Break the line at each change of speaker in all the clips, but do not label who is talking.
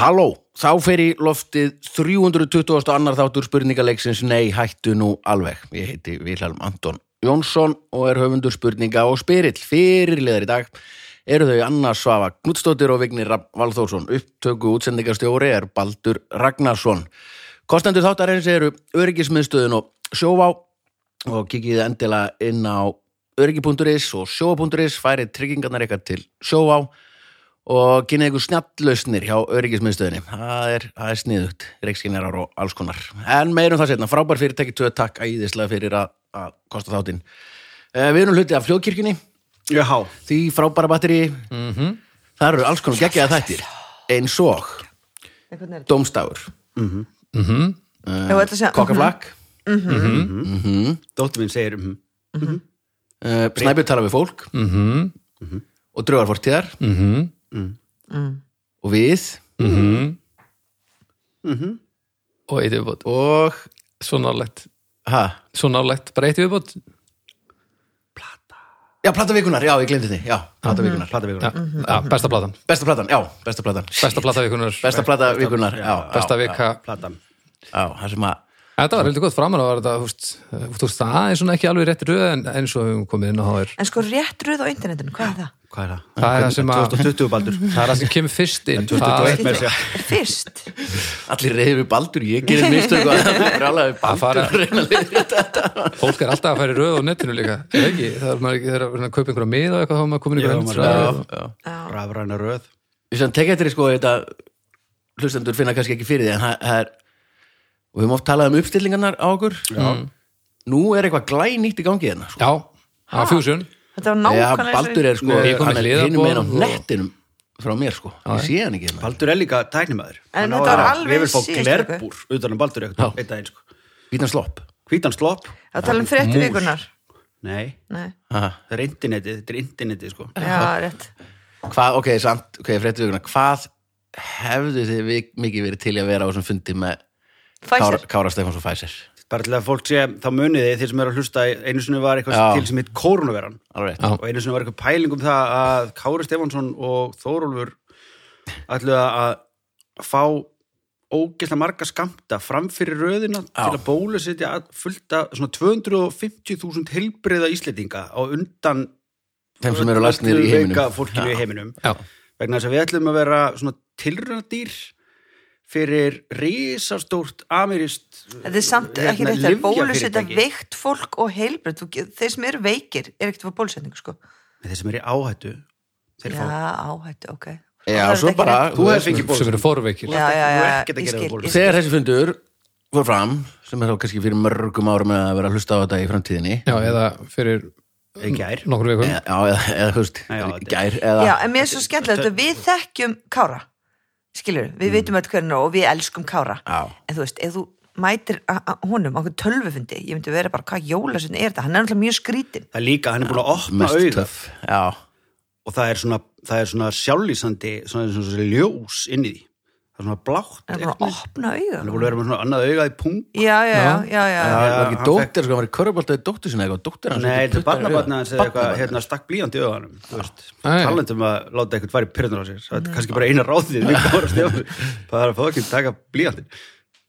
Halló, þá fer í loftið 320. annar þáttur spurningaleiksins Nei, hættu nú alveg. Ég heiti Vilhelm Anton Jónsson og er höfundur spurninga og spyrill. Fyrirliðar í dag eru þau Anna Svava Knudstóttir og Vignir Rafn Valþórsson. Upptöku útsendingarstjóri er Baldur Ragnarsson. Kostendur þáttarins eru öryggismiðstöðin og sjóvá og kikið endilega inn á öryggi.is og sjóa.is færið tryggingarnar ykkar til sjóvá og kynnið ykkur snjallösnir hjá öryggismiðstöðinni. Það er, það er sniðugt, reikskinnjarar og alls konar. En meirum það setna, frábær fyrirtæki tvö takk æðislega fyrir að, að kosta þáttinn. Eh, Við erum hlutið af fljóðkirkjunni,
Já,
því frábæra batteri, það eru alls konar geggjaða þættir, eins og
Einhvern er
Dómstafur, Eh,
Ef þú ætlar að Mhm. segja-
Kokkaflak,
dóttir minn segir mhm.
uh, Snæbjörn tala við fólk
Mhm.
og Draugarfortíðar mm og við
Mhm. og eitt viðbót
og
svo nálægt,
ha,
svo nálægt, bara eitt viðbót
já, plata vikunar, já, ég glemdi því já, plata vikunar, plata vikunar
já, já, besta platan,
besta platan, já, besta platan
besta plata vikunar
besta plata vikunar, já, já,
besta
já,
vika
platan
já, það sem að
þetta var heldur gott framar að var þetta, þú veist, eh, þú veist það er svona ekki alveg rétt röð en eins og við höfum komið inn á það er
En sko rétt röð á internetinu, hvað er það?
Hvað er það?
það er það sem að,
2020 baldur
það er það sem kemur fyrst inn það er
21 meira að segja.
Er Fyrst
allir reyður við baldur, ég gerir mistök og það er alveg við
að
baldur
fara fólk er alltaf að fara í röð á netinu líka er ekki, það er maður ekki, þegar maður kaupa einhverja miða og eitthvað þá er maður komin í
Já,
einhverja
maður-
röð og-
já
Rafræna röð
Við sem tekja eftir því, sko þetta hlustendur finna kannski ekki fyrir því en það það er og við höfum oft talað um uppstillingarnar á okkur já. nú er eitthvað glænýtt í gangi hérna sko.
já, það er fusion
Þetta var
Já,
nákvæmlega
Baldur er sko
Ég er komin með
hinn
hliðarboð
meina á
og-
nettinum frá mér sko, ég sé hann ekki hérna
Baldur er líka tæknimaður
En þetta var alveg
Við vil fá
síðustu
glerbúr utan um Baldur eitthvað Eitt aðeins sko
Vítan slopp
Hvítan slopp
Það tala um frétt
Mm.
Mús.
vikunar
Nei
Nei,
Ha,
Það er internetið Þetta er internetið sko
já, rétt
Hvað, ok, samt, ok, fréttuðuguna Hvað hefðu þið vik- mikið verið til í að vera á þessum fundi með Kára,
Pfizer,
Kára Stefáns og Pfizer
Bara til að fólk sé Þá munið þið Þeir sem eru að hlusta Einu sinni var eitthvað
Já.
til sem hitt kórnuveran
Alveg rétt
Já.
Og einu sinni var eitthvað pæling um það Að Kári Stefánsson og Þórólfur Ætluðu að fá ógeðslega marga skamta framfyrir röðina til að bólusetja fullta svona 250.000 helbriða Íslendinga á undan
Þeim sem eru lasnir í
öllu
heiminum
veika fólkinu í heiminum
já,
vegna þess að við ætlum að vera svona tilröndýr fyrir risastórt amirist
þetta er samt
Hérna,
ekki rétt að bólusetja veikt fólk og heilbröð þeir sem eru veikir er ekkert að fá bólusetningu sko
þeir sem er í áhættu þeir
Já,
fá
áhættu, ok
Já,
Það er
svo
þetta ekki
bara
rétt.
Þú hefur
veist,
fengið bólusetningu.
sem eru forveikir
Já, já, já,
Þú
já,
ert ekkert að
ég
gera
skil,
bólusetningu.
ég skil
Þegar þessi fundur fór fram sem er þá kannski fyrir mörgum árum að vera að hlusta á þetta í framtíðinni
já, eða fyrir
Í gær.
nokkur vikum
Já, eða, eða þú veist,
Já, já, þetta-
gær eða,
Já, en mér er svo skemmtilegt að við þekkjum Kára skilur,
Mm.
við vitum öll hvernig og við elskum Kára
Já.
en þú veist, ef þú mætir a- a- honum á okkur tölvufundi, ég myndi vera bara hvað jólasun er þetta, hann er náttúrulega mjög skrítin
það er líka, hann er búin að opna
mest
auð
töff Já,
og það er svona, það er svona sjálflýsandi svona, svona, svona ljós inn í því það er svona blátt einhvern
hann er bara að
veginn.
opna auga
hann er búin að vera með svona annað augað í pung
já, já, já, já, já,
það var ekki
hann
dóttir, sko, hann var í körfubóltaði dóttir sinna eitthvað, dóttir hans
Nei,
vildi
þetta er
putta henni í augun.
barnabarna hans eða eitthvað,
Barnabarnið.
hérna, stakk blíjandi auðanum, þú veist,
Nei.
talandum að láta eitthvað fara í pyrrunar á sér, það er kannski bara eina ráðið við Kára Stefánsson, það er að fá ekki að taka blíjandi.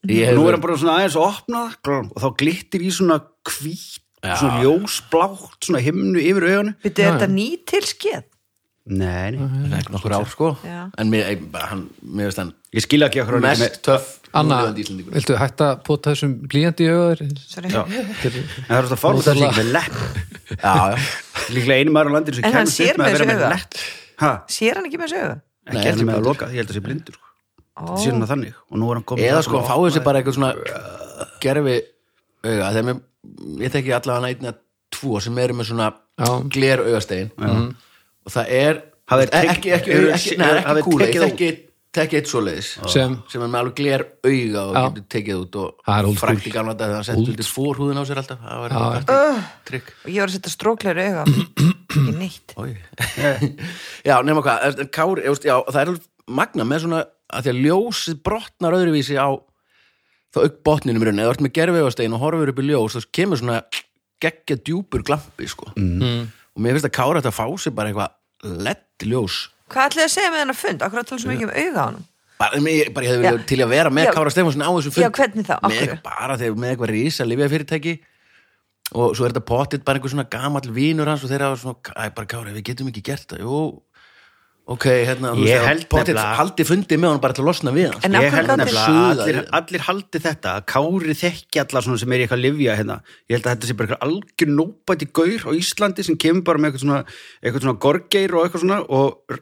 Ég hef
hérna. Nú er
verið-
hann bara svona aðeins að opna það, glón, og þá glittir í svona hvít, svona ljósblátt, svona himnu yfir auðanum.
Byrju, er þetta ný til skeð?
Nei, nei,
Nei, nokkur ár sko
Já.
en mér, ei, bara hann, mér veist hann
ég skilja ekki okkur
mest töff
Anna,
núlifandi Íslendingur.
viltu hætta að pota þessum blíjandi í auður?
Sorry.
en það er svona fórn, það er líka með lepp,
já, já.
líklega einu maður á landinu sem
En hann
kemst
sér
upp með
með
að
þessu
vera með
auga?
lepp. Ha,
Sér hann ekki með þessu
ekki
auga?
Nei, hann er
eftir með
blindur.
að loka, ég held að sé blindur, sko.
Ó.
Þetta sé svona þannig, og nú er hann kominn
eða
þarna
sko
og
fáið sér
opnaði-
bara eitthvað svona gerfi auga þegar mér, ég tekki allavega hann einna tvo sem eru með svona
Já.
gler augastegin og það er
Hafið
ekki,
tekið-
ekki, ekki,
eru-
ekki,
hafið
nei, ekki kúla ég
tekið það
tekki, tekki eitt svoleiðis
Sem-
er með alveg gler auga og
Já.
getur tekið út og
Það er old
frækt í
school.
gamla dag þegar hann setti undir fórhúðin á sér alltaf það var
Já.
eitthvað trikk
Og ég var að setja stróklegur auga á hann. Ekki neitt.
Oj. já, nema hvað, en Kári, ég veist, já, það er alveg magna með svona að því að ljósið brotnar öðruvísi á þá auk botninum í rauninni, eða þú ert með gerfiðastegin og horfur upp í ljós, þá kemur svona geggja djúpur glampi, sko mm. og mér finnst að Kári ætti að fá sér bara eitthvað lett ljós
Hvað ætlaði að segja með hennar fund? Akkur að tala svo mikið um auga á hann?
bara, ég, bara ég hefði viljað
Já.
til í að vera með
Já.
Kára Stefánsson á þessu
Já, hvernig þá? Af
Með,
hverju?
bara þegar með eitthvað rísa lyfjafyrirtæki og svo er þetta pottitt bara einhver svona gamall vínur hans og þeir hafa svona, æ, bara Kára, við getum ekki gert það jú, ok, hérna þú
Ég
veist,
held
pottitt
nefnilega-
haldi fundi með hann bara til að losna við hans
En af
Ég
hverju
held
gátu
nefnilega að
þeir-
allir,
Suða í-
allir haldi þetta að Kári þekki alla svona sem er í eitthvað að lifja hérna. Ég held að þetta sé bara eitthvað algjör nópæti gaur á Íslandi sem kemur bara með eitthvað svona, eitthvað svona gorgeir og eitthvað svona og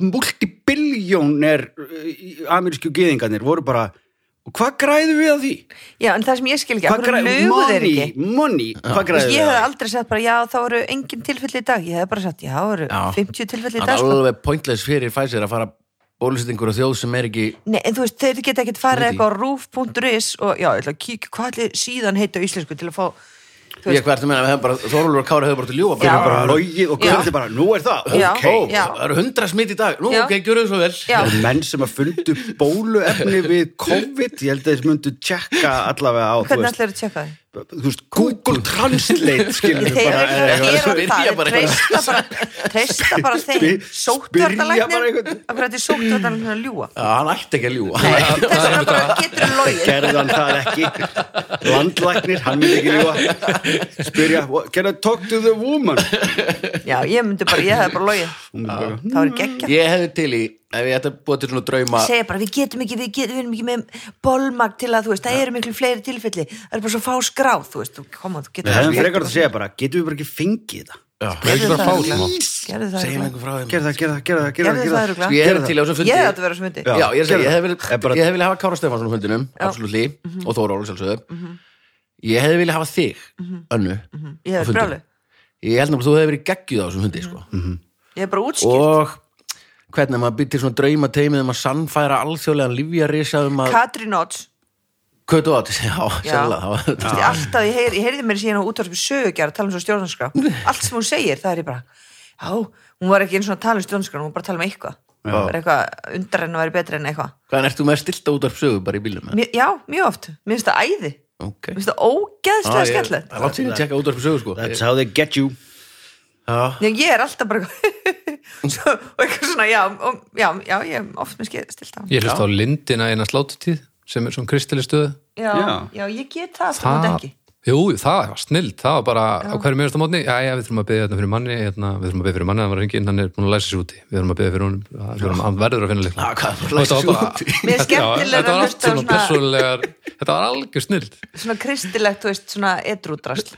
multibiljónir uh, amerísku gyðingarnir voru bara og hvað græðum við að því?
Já, en það sem ég skil ekki,
Hvað
af hverju
græðum-
lugu þeir
money,
ekki?
money, hvað
Þú veist,
græðum
Ég
við
hefði
að því?
aldrei sagt bara, já, þá eru engin tilfelli í dag. Ég hefði bara sagt, já, það eru
Já.
50 tilfelli í
það
dag,
er
sko.
alveg pointless fyrir Pfizer að fara bólusetningur og þjóð sem er ekki
Nei, en þú veist, þeir geta ekkert
Út
farið
í.
eitthvað á roof.is og, já, ég ætla að kíkja hvað allir síðan heita á íslensku til að fá, þú
ég
veist,
hvert að meina, við hefum bara, Þorulur og Kári hefur bara til ljúa
Já.
bara,
Bara
bara,
logið og
Já.
græðum bara, nú er það,
Já.
ok.
ó,
Já.
það eru hundra smitt í dag nú,
Já.
ok, gjöru þið svo vel
já,
Það eru menn sem að fundu bóluefni við COVID, ég held að þeir myndu tjekka allavega á, þú
hvernig
veist,
allir eru að tjekka það?
þú veist, Google Translate skilur
Þeir eru
bara, eh,
að
svo
gera
byrja
það,
bara
þeir treysta bara, treysta bara þeim,
Spyr- spyrja bara
sóttvartalæknir,
einhvern.
af hverju þetta er sóttvartalæknir að ljúa?
Já, hann ætti ekki að ljúa
Nei, þess vegna bara getur þú logið.
gerði hann það ekki landlæknir, hann myndi ekki lífa spyrja, "What- can I talk to the woman
Já, ég myndi bara, ég hefði bara logið.
Hún myndi bara,
Það eru geggja.
ég hefði til í, ef ég ætti að búa til svona drauma
segja bara við getum ekki, við getum við erum ekki með bolmag til að þú veist, það eru miklu fleiri tilfelli, það eru bara svo fá skráð þú veist, þú koma, þú getur
við hefum frekar að segja bara, getum við bara ekki fengið það
Það er ekki bara fá smá.
segjum
gerðu það, örugglega.
einhver frá þeim
gerði það, gerði það, gerði það, gerði
Gerðu
það, gerði það
það örugglega.
Sko, ég hefði til í á þessum fundi
ég hefði að vera á þessum fundi
Já,
Já,
ég, ég,
gerðu
ég
það.
hefði
En bara-
vilja hef vilja hafa Kára Stefánsson á fundinum,
Já.
absolutt og Þóra Óli sjálfsögðu ég hefði vilja hafa þig, önnu á
ég hefði
fundinum.
brálu,
ég held náttúrulega að þú hefði verið geggjuð á þessum fundi sko.
ég hefði bara útskýrt
og hvernig maður byttir svona drauma teimið um að sannfæra alþjóðlegan lífjarisa um að
Katrín Odds,
kötu átt, já,
Já.
sérlega það
þú veist,
var-
ég alltaf, ég, heyr, ég heyrði mér síðan á útvarpum sögugjara að tala um svo stjórnarskrá allt sem hún segir, það er ég bara já, hún var ekki eins og að tala um stjórnarskrá hún var bara að tala um eitthvað, bara eitthvað undar en að vera betra en eitthvað
Hvaðan ertu með stilta út af sögu bara í bílum?
Mér- já, mjög oft, mér finnst það æði mér
Ok.
finnst það ógeðslega
Já, Ah, ég-
skemmtilegt
Það er langt síðan að tjekka út af sögu sko
that's how they get you
Já,
Já, ég er alltaf bara svo, og eitthvað svona, já, og, já, já ég er oft með skil- stilt á
Ég hlust á lindina eina slátutíð sem er svona kristilistöð
já, já.
Já.
ég get það stundum ekki
Jú, það var snild, það var bara á hverju mjögast á mótni, já, já, við þurfum að byggja þetta fyrir manni hérna, við þurfum að byggja fyrir manni, hann var hringin, hann er búin að læsa sér úti, við þurfum að byggja fyrir honum það- við þurfum að verður að finna líkla
Já, hvað er að Ah, læsa sig úti?
Mér er skemmtilegra
þetta
að
var
hlusta
allt
á
svona
svona-
persónlegar þetta var algjör snild
svona kristilegt, þú veist, svona edrúdrasl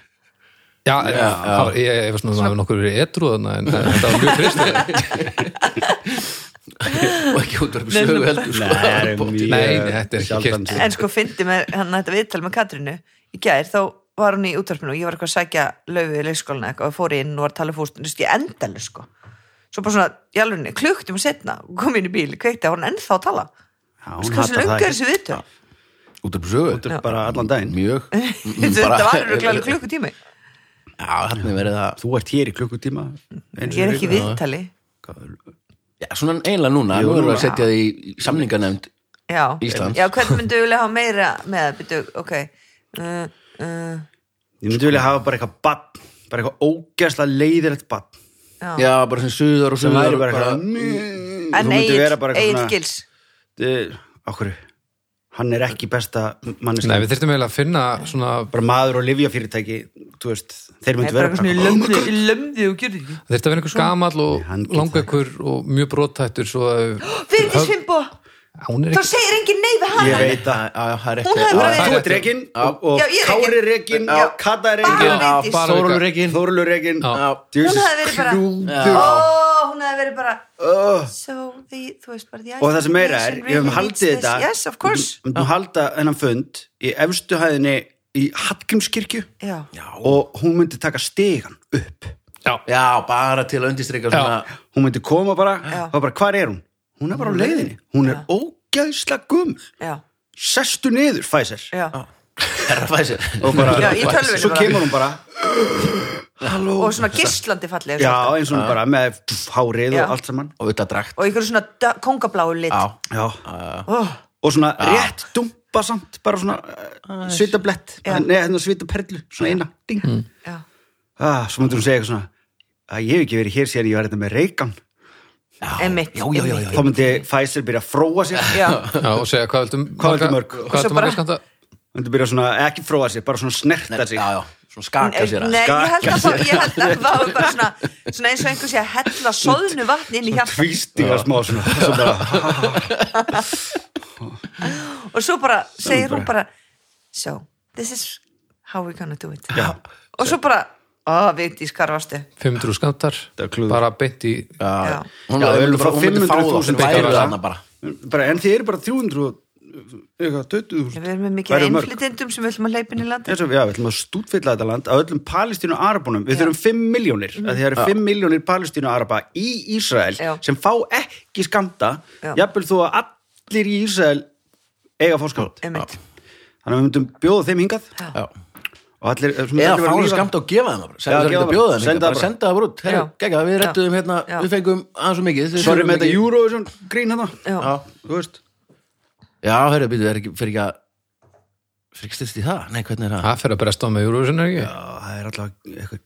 já, en það var- ég ég var svona, það var nokkur verið etru þarna, en en þetta var mjög kristilegt
og ekki út af sögu heldur sko
það er
Pottit.
mjög
Nei, nei, þetta er ekki
sjaldan
kyrrt.
séð.
en sko fyndi með hann þetta viðtal með Katrínu í gær, þá var hún í útvarpinu og ég var eitthvað að sækja laufi í leikskólan eitthvað og fór inn og var að tala fúst, þú veist, ég endalur sko svo bara svona, í alvegni, kluktum og setna kom inn í bíl, kveikti að hún ennþá að tala
Já, hún
Þú veist, hversu
hatar það
löngu
ekki.
er sko, þessi viðtöl
Út af sögu
Þetta er bara allan daginn
Mjög
mm,
Mm,
þetta var alveg klukkutími
Já, hann er verið að
þú ert hér í klukkutíma einu
ég
sinni
er
í
ekki í
viku.
viðtali
Já, svona eiginlega núna,
Jú,
nú erum við að
núna.
setja því í samninganefnd
Já,
Íslands.
já hvernig myndu vilja hafa meira með það, byrju, ok uh, uh,
ég myndi vilja hafa bara eitthvað bann bara eitthvað ógæsla leiðilegt bann
já.
Já, bara sem suðar og
sem
suðar
væri bara
og
eitthvað Mm.
En
Þú myndi vera bara
Egil,
eitthvað
Egil
svona-
Gils
Eh, á hverju hann er ekki besta
nei, við
manneski
þurftum eiginlega að finna svona
bara maður og livjafyrirtæki þú veist, þeir
Ég
myndu
er
vera
bara eitthvað svona í
bara
lömði, í lömði og gjörði ekki
þurfti að vera einhver gamall
Nei,
og
hann getur
langveikur og mjög brottættur svo að
Virði Svimbo,
hún er
þá
ekki
segir engin nei við
ég
hana
veit að
bara
Hún hefði bara
þú
verið
ert rekin og,
Já,
og
ég er
Kári
rekin.
rekin
Já.
og Kata er
Bara
rekin
við-
Já, bara
Þórólu
líka.
reikinn
Þórulur rekin
Já.
Jesus
Hún hefði verið bara-
Knútur.
Ó, hún hefði verið bara
Ugh.
So, the, þú veist bara the
og það sem meira er,
Icelandic
ég hef um
nation
haldið
needs
þetta
this. Yes, of course
myndum halda þennan fund í efstu hæðinni í Hallgrímskirkju
Já,
og hún myndi taka stegan upp
já,
Já, bara til að undistrika svona
hún myndi koma bara,
Já.
og bara hvar er hún? hún er bara á leiðinni, hún er ógæðsla gumul
já,
sestu niður, Pfizer
já
Herra Pfizer
og bara,
Já, í tölvunni
svo
bara.
kemur hún bara halló,
Og svona gislandi falleg
já,
svolítið.
eins og hún bara með pff, hárið
Já.
og allt saman
Og auðvitað drakt
Og ykkur svona da- kongabláu lit
Já,
já.
oh,
og svona rétt dumpa samt bara svona uh, svitablett
Já.
neða, hérna svitaperlu, svona eina ding
Já,
ah, svo myndir hún segja eitthvað svona að ég hef ekki verið hér síðan ég var hérna með reykan
Einmitt,
já, já, já, já,
einmitt.
Þá myndi Pfizer byrja að fróa sér
já,
Já, og segja hvað viltu
Hvað viltu mörg?
Hvað
Svo
viltu marga
bara-
skamta?
myndi byrja svona, eh, ekki fróa sér, bara svona snerta
já,
sig
já, svona skaka sér að
Nei, ég held
Skaka
að það, ég held að það var bara svona, svona eins og einhver sé að hella soðnu vatni inn í hjarta
tvístinga smá svona, svo bara,
og svo bara segir hún bara so, this is how we gonna do it
Já.
og svo bara, ó, Vigdís, hvar varstu
500 skamtar,
Það er klúður.
bara beint í
Já,
Já.
hún
Já,
hún
við
myndi
erum
bara-
frá
hún myndi fá það
500.000
sem væri
bækur.
þarna bara
bara en þið eru bara 300 og, eh, eitthvað, 20
við erum með mikið
Væru mörg.
einflitindum sem við ætlum að hleypa inn í landi
Þessu, já, við ætlum að stútfylla þetta land að öllum palestínu arabunum, við þurfum 5 miljónir að það eru 5 miljónir palestínu araba í Ísrael
Mhm. Já.
sem fá ekki skamta
Já.
jafnvel þó að allir í Ísrael eiga að fá skamt
Einmitt.
þannig að við myndum bjóða þeim hingað
Já.
og allir, sem
eða
allir
fá
verða
það
lífa.
skamt og gefa það bara senda
Já, gefa
það ekki að
það
bjóða
bara. Senda það
það bara
bara.
senda það bara út Herru,
Já.
geggjað, við
Já.
rettum hérna,
Já.
við fengum aðeins og mikið Þið
sorry
þurfum
með
ekki-
þetta Eurovision grín hérna
Já.
Já.
þú veist
já, herru, býtu, er ekki, fyrir ekki að fyrir ekki styrst í það, nei, hvernig er það
Það fyrir að bresta á með Eurovision, er ekki?
Já, það er alltaf eitthvað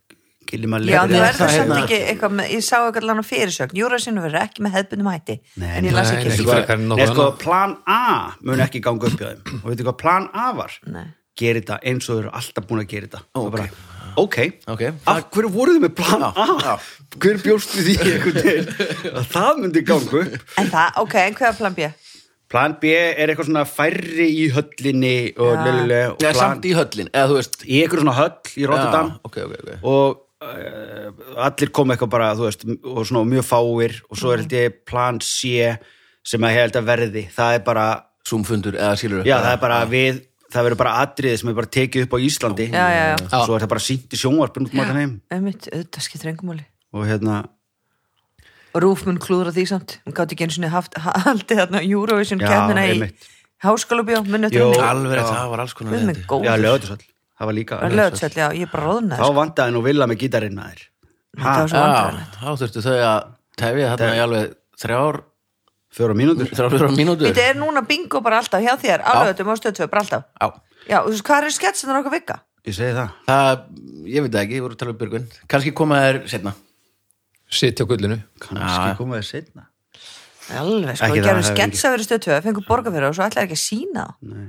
gilum að
Já,
leita
það er það
það
samt
hérna-
ekki eitthvað með, ég sá eitthvað allan á fyrirsögn, Júrasinu verður ekki með hefðbundum hætti,
Nei,
en ég las
nei,
ekki
nei,
nei,
ekki. frekar en nokkuð
Nei, sko,
annað.
plan A mun ekki ganga upp hjá þeim og veitu hvað plan A var?
Nei.
Geri þetta eins og þau eru alltaf búin að gera þetta
Ó,
Og
ok.
bara, ok,
Ok.
af hverju voruð þið með plan
Já,
A?
já.
Hver bjóst við því einhvern veginn að það myndi ganga upp?
En það, ok, en hvað er plan B?
Plan B er eitthvað svona færri í höllinni og
Já.
lulluleg og
Já,
plan
samt í höllin, eða þú veist
í einhverjum svona höll í Rotterdam
Já, ok, ok, ok.
og uh, allir kom eitthvað bara, þú veist, og svona mjög fáir og svo er held ég plan C sem að ég held að verði, það er bara
Zoom-fundur, eða skilur
já, það er bara við, það verður bara atriði sem er bara tekið upp á Íslandi
Já, já, já.
og svo er það bara sýnt í sjónvarpin út um allan heim
Ömmit, auðvitað skiptir engumáli.
og hérna,
Og Rúfmun klúðra því samt, hún gátt ekki einu sinni haft, haldið þarna Eurovision
Já,
kemina í
einmitt.
háskálubjó, munið
Jó.
þetta
alveg, rétt, það var alls konar
Guð minn
leiðindi.
góður.
já, lögðusall það var líka,
Löðsöld, já, ég er bara
þá
róðnaði.
vandaði nú vilja með gítarinn að þér
Það var
ha,
svo vandræðilegt.
Já, þá þurftu þau að tefja þarna í alveg þrjár,
fjóra mínútur
þrjár, þrjár mínútur
Þetta er núna bingo bara alltaf hjá þér, alveg á stöðtöð, bara alltaf.
Já,
Já, og þú veist, hvað eru sketsinur okkar vika?
ég segi það,
það, ég veit það ekki, ég voru að tala um byrgun Kanski koma þær setna
Sitja á gullinu.
kannski koma þér setna
Alveg, sko,
Ekki
við
það,
gerum
það er
sketsa verið stöðtöð, fengur borga fyrir það og svo ætlaði ekki að sína það.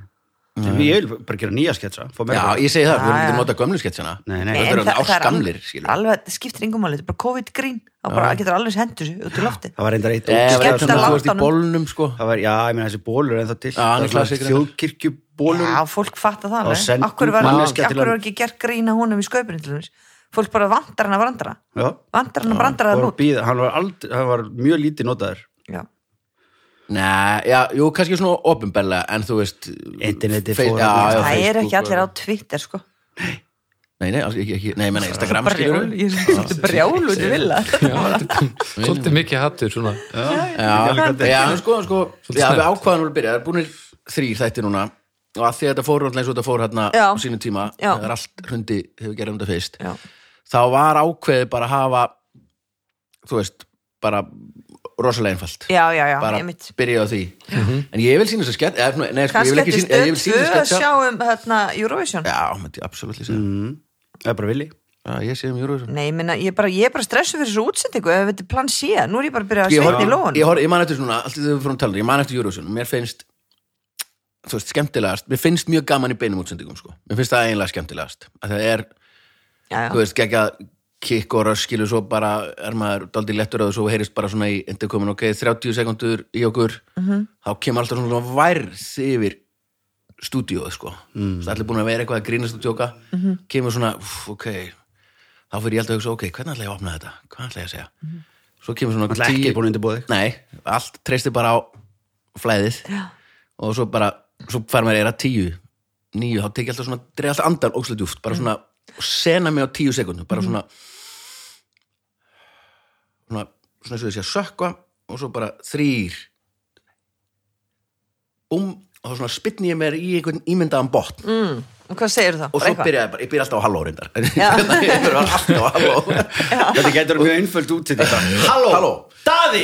sem ég vil bara gera nýja sketsa fá meira
Já,
fólk.
ég segi það, við
Já,
vorum ekki
já.
að nota gömlu sketsjana
Nei, nei.
Þetta
Nei,
eru
en það-
alveg
það er
áskamlir,
alveg-
skilur
Alveg, það skiptir engum máli, þetta er bara COVID-grín Það bara getur alveg hendur sig út í lofti
það var reyndar eitt
Eða
ógeðslega
verður svona,
skemmta
svona-
þú veist í
látunum.
bólnum, sko
það var, já, ég meina þessi bólur en það til
Já, hann er klassíker.
þjóðkirkjubólur
Já, fólk fattar það
Og
alveg
sendum
Akkur var,
manneskja
akkur
til
var
hann.
ekki gert grín að honum í sköpunni til hans Fólk bara vantar hann að brandara
já,
Vantar hann að brandara
hann
það
var,
nút
býð, hann, var aldrei, hann var mjög lítið notaður
Já,
Nei, já, jú, kannski svona opinberlega En þú veist
Internetið
fei-
fór-
já, já,
það
Facebook
eru ekki allir á
og-
Twitter sko
Nei, nei, alls ekki, ekki, nei, menn, Instagram, skilur
Brjál, ég er svolítið brjál út í vilja
Já, svolítið mikið hattur, svona.
já,
Þetta er-
já, en sko, sko
Svolítið
já, við
snemmt.
ákvaðan voru að byrja, það er búinir þrýr þætti núna og að því að þetta fór alltaf eins og þetta fór hérna
Já.
á sínum tíma,
Já.
þegar allt hrundi hefur gerðum þetta fyrst,
Já,
þá var ákveðið bara að hafa þú veist, bara rosalega einfalt,
já, já, já,
bara
ég mitt
byrja á því en ég vil sína þess að skett eða, svona, nei, sko, ég
Kannski
vil ekki
eftir
sína, eða ég vil
stöð tvö
sína
að
skett
sjá um hérna Eurovision
já, myndi ég absolutt lýsa mm.
Mhm. það er bara villi
já, ég sé um Eurovision
Nei, ég meina, ég er bara, ég er bara stressu fyrir þessu útsendingu ef þetta er plan C, nú er ég bara að byrja að
ég,
sveita í
horf,
lóun
ég, horf, ég man eftir svona, allt þegar við fórum að tala um ég man eftir Eurovision, og mér finnst þú veist, skemmtilegast, mér finnst mjög gaman í beinum útsendingum, sko, mér finnst það eiginlega skemmtilegast að það er,
Já, já.
þú veist, gegja kikk og röskilu, svo bara er maður daldið lettur að svo heyrist bara svona í endurkomin, ok, 30 sekundur í okkur þá kemur alltaf svona, svona værð yfir stúdíóð, sko mm. allir búin að vera eitthvað að grínast og tjóka kemur svona, uff, ok þá fyrir ég alltaf að hugsa, ok, hvernig ætla ég að opna þetta hvað ætla ég að segja svo kemur svona
Alltaf ekki búin undirbúið þig.
Nei, allt treystir bara á flæðið og svo bara, svo fær maður eira tíu nýju, þá tekið alltaf svona dreið alltaf andan ókslega djúft, bara svona og sena mig á tíu sekundum, bara svona svona svona svo þessi að sökka og svo bara þrýr um, og þá svona spytni ég mér í einhvern ímyndaðan botn
Og hvað segir þú þá?
og svo byrjaði ég Mm. bara, ég byrja alltaf á halló reyndar ég byrja alltaf á halló
þetta getur mjög einföld út til þetta
halló, halló
Daði,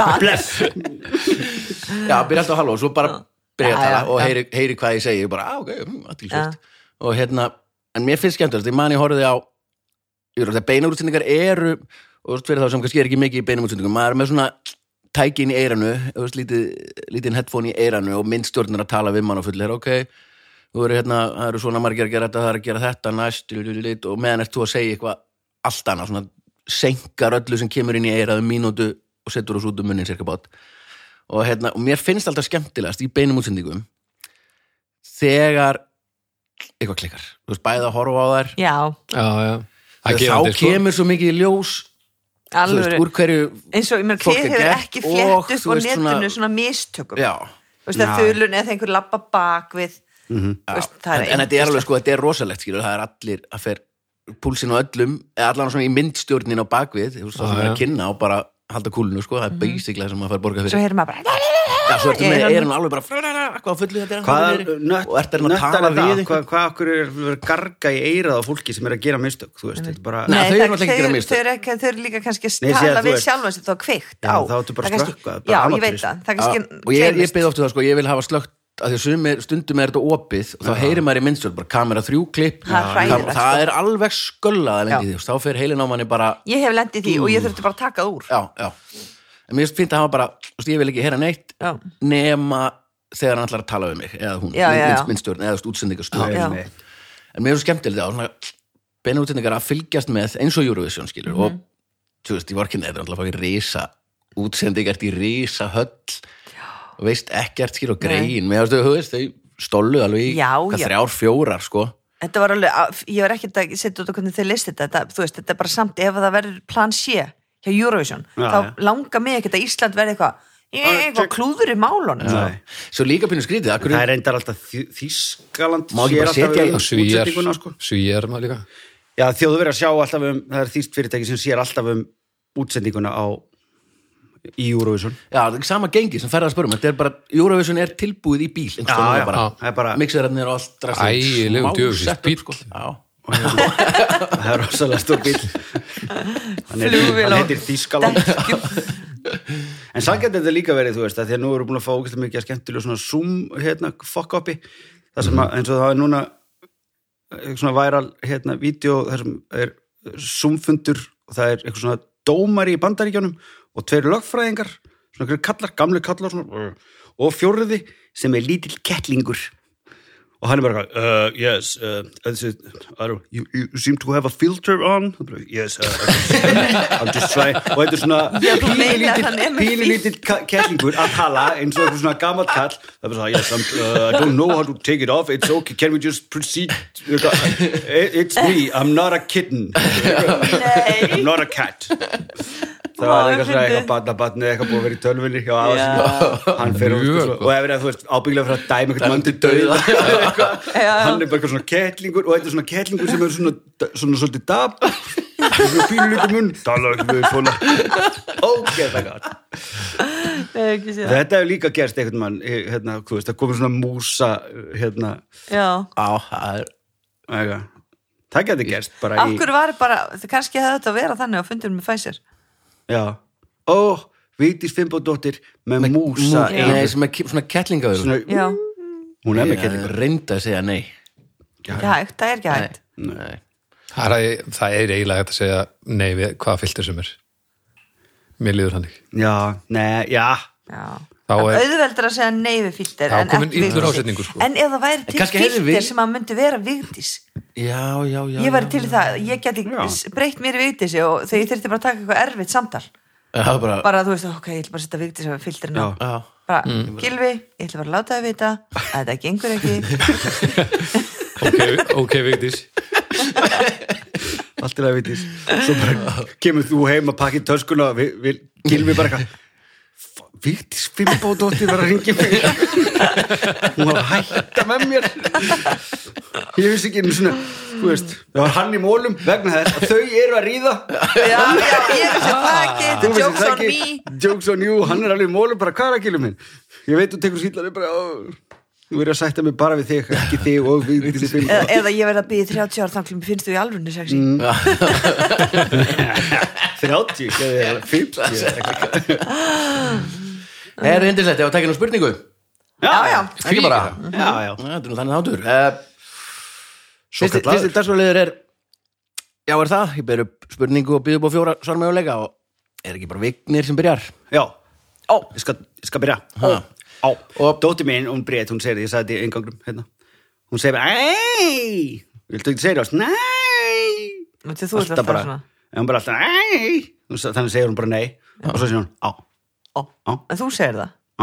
Dag,
bless
Já, byrja alltaf á halló og svo bara byrja
Já,
að tala
já,
og
já.
heyri, heyri hvað ég segi ég bara, á, ok, mm, aðtilsvöld og hérna, en mér finnst skemmtilegt, ég man ég horfði á ég er að beina útsendingar eru og þú veist, fyrir þá sem kannski er ekki mikið í beinum útsendingum maður er með svona tækin í eiranu þú veist, lítið, lítinn headphone í eiranu og myndstjórnir að tala við mann og fullir ok, þú eru hérna, það eru svona margir að gera þetta það er að gera þetta, næst lulululut, og meðan ert þú að segja eitthvað allt annað svona senkar öllu sem kemur inn í eirað um mínútu og setur þess út um munnin cirka bát og, hérna, og mér finnst alltaf skemmtilegast í beinum útsendingum þegar eitthvað klikkar, þú veist, bæði að horfa á þær
já,
já, já. Það er
þá
gefandi, sko.
kemur svo mikið í ljós þú
alveg
veist, úr hverju
eins og, ég meina,
fólk er
þið hefur
gert
ekki
og,
flett
þú
upp á
veist, svona-
netinu svona mistökum
já,
þú veist, að
Já.
þulun eða einhver labba bak við
Mhm.
þú veist, það
en,
er
en þetta er
yndislegt.
alveg sko, þetta er rosalegt skilur, það er allir að fer púlsin á öllum, eða allan svona í myndstjórnin á bakvið, þú veist, það
Já,
sem er
já.
að kynna og bara halda kúlinu, sko, það er basically það sem maður fær borga
Mhm. svo
fyrir,
heyrir maður bara
já, svo ertu
ég
með
er alveg-
eirun alveg bara, "Frrrrrrr, hvað á fullu þetta er
Hvað
ennþá niðri?"
nött,
hérna, og ertu hérna að reyna að
nöttar
tala
þetta?
við
Hvað, hvað okkur er verið að garga í eirað á fólki sem er að gera mistök, þú veist, þetta er bara...
Nei, þau eru
það-
náttúrulega ekki að gera
þau-
mistök.
þau eru ekki- þau eru líka kannski
Nei,
að
ég sé að
tala
þú
við
ert-
sjálfan sem þú er kveikt
Já,
á
þá áttu bara
Það kannski-
slökkvað, bara
já, ég
amatörist.
veit það, það
Já,
kannski
og ég, ég
gleymist.
byrði ofta það sko, ég vil hafa slögt að því að sumir, stundum er þetta opið og þá heyrir maður í myndstjórn, bara kamera þrjú klipp
Það er
kam-
hræðilegt,
það
sko.
er alveg sköllað
Já.
lengi í því, og þá fer heilin á manni bara
ég hef lendið því og ég þurfti bara að taka það úr
já, já, en mér finnst fínt að hafa bara þú veist, ég vil ekki heyra neitt
já,
nema þegar hann ætlar að tala við mig eða hún,
Já, já, já.
mynd- myndstjórn, eða útsendingarstjórn
Já.
en mér er svo skemmtilegt á svona, beina útsendingar að fylgjast með eins og Eurovision skilur
Mhm.
og þú veist, ég var ekki neður alltaf að fá í risa útsendingart í risa höll og veist ekkert skilur og grein mér varstu, þú veist, þau stólu alveg í
Já,
hvað,
já.
þrjár, fjórar sko
þetta var alveg að- ég var ekkert að setja út á hvernig þið listið þetta þú veist, þetta er bara samt, ef það verður plan sé hjá Eurovision,
Já,
þá
já.
langar mig ekkert að Ísland verði eitthvað
Ah,
eitthvað
check.
klúður í málunum sko.
Nei.
svo líka pínu skrítið, akkur
Það er reyndar alltaf Þý- Þýskaland
Má ekki
sér
bara
alltaf
setja
um
í-
Og svíjar,
útsendinguna, sko.
svíjar maður líka
Já, þjóðu verið að sjá alltaf um, það er þýst fyrirtæki sem sér alltaf um útsendinguna á í Eurovision.
já, það er sama gengi sem ferða að spörum þetta er bara, Eurovision er tilbúið í bíl einhvers staðar
já.
bara.
Það er bara,
mixerarnir og allt drastlið.
Ægilegur
Smá
djöfusins
setup,
bíll.
sko. Já.
það er rosalega stór bíl. Hann heitir-
Flugvél
Hann
á-
heitir Þýskaland.
Dekkjum.
En sannkjæmt þetta líka verið, þú veist, að því að nú erum við búin að fá ógæslega mikið að skemmtilega svona Zoom, hérna, fuck-upi, það sem að, eins og það er núna eh, svona væral, hérna, vídeo, það sem er Zoom-fundur og það er eitthvað svona dómari í bandaríkjónum og tveir lögfræðingar, svona einhverjir kallar, gamlu kallar, svona, og fjóruði sem er lítill kettlingur. Og hann er bara eitthvað, uh, yes, uh, this is, I don't, you, you seem to have a filter on. Og bara, Yes, uh, I'm just trying. Og þetta er svona
Já, þú meinar að hann er með
pílilítill lítill kettlingur að tala eins og eitthvað svona gammal kall það er bara svona, yes, I'm, uh, I don't know how to take it off it's okay, can we just proceed it's me, I'm not a kitten
Nei.
I'm not a cat það
Ó,
var eitthvað svona
fyndið.
eitthvað barnabarni eitthvað búið að vera í tölvunni hjá afa sinni. hann fer og,
Mjög
svo, og ef er að þú veist ábygglega fyrir að dæma einhvern mann til
dauða.
dauða eitthvað. hann er bara eitthvað svona kettlingur og þetta er svona kettlingur sem er svona svona svolítið dab svona pílulítið munn tala ekki við svona ógeðslega gott
Nei, ekki sé það.
Þetta hefur líka gerst einhvern mann, hérna, þú veist, það komur svona músa, hérna,
já
Já, það er
eitthvað. Það getur gerst bara
Af
í...
hverju var bara, það kannski hefði þetta að vera þannig á fundunum með Pfizer
Já. Ó, Vigdís Fimboðdóttir með músa.
Mú-
í-
Nei, sem er ki- svona kettlingaður
Svona,
Já,
hún er með
Ég
kettingur.
reynda að segja nei
ekki hægt, það er ekki hægt
Nei.
Það er, það er eiginlega hægt að segja nei við hvaða filter sem er. Mér líður hann ekki.
Já, nei, já.
Já
Þá er-
auðveldur að segja nei við filter
Já,
en
kominn
ekki við
illur
Vigdísi.
ásetningur, sko.
En ef það væri til
kannski hefði
filter
við-
sem að myndi vera vigdís
Já, já, já
Ég væri til í
já.
það, ég geti
Já.
s- breytt mér í vigdísi og þegar ég þyrfti bara að taka eitthvað erfitt samtal
Það er bara,
Bara þú veist, ok, ég ætla bara að setja vigdísi með filterinn á
Já.
já
Bara,
Mm.
Gylfi, ég ætla bara að láta það vita að þetta gengur ekki
Ok, ok, Vigdís.
Allt er að Vigdís. Svo bara kemur þú heim að pakka í töskuna og við, við gilmi bara eitthvað. "F- Vigdís Fimboðdóttir var að ringja mig. hún var að hætta með mér. Ég vissi ekki einu svona, þú veist, það var hann í mólum vegna þess að þau eru að ríða.
Já, já, ég er
Ah.
sem það
Þú
ekki, þetta
veist,
jokes
það
on
ekki-
me
Jokes on you, hann er alveg í mólum bara hvað er að kýlum minn Ég veit þú tekur skýtlar bara, ó, Þú verður að sætta mig bara við þig ekki þig og við þig sem
eða, eða ég verði að býja 30 ára þanglum finnst þú í alvunni sexy
Mm. 30 eða 50 eða eitthvað.
Það
Mm.
er reyndislegt, ég var að taka nú spurningu
já, já,
Ekki
Já,
bara
já
Já, Þetta er nú þannig þáttur Eh, Fyrsti
kallaður.
dagsfæliður er Já, er það? Ég ber upp spurningu og býð upp á fjóra svarmöguleika og er ekki bara vignir sem byrjar?
Já, ó, ég skal, ég skal byrja
Ha.
Ó, á, og dóti mín, hún breyt, hún segir, ég sagði þetta í engangrum hérna. Hún segir, ei Viltu ekki segja það? Nei
Þú ert alltaf,
bara,
svona
en hún bara alltaf, ei Hún sa- Þannig segir hún bara nei Og svo segir hún, á,
ó.
Á.
En þú segir það
á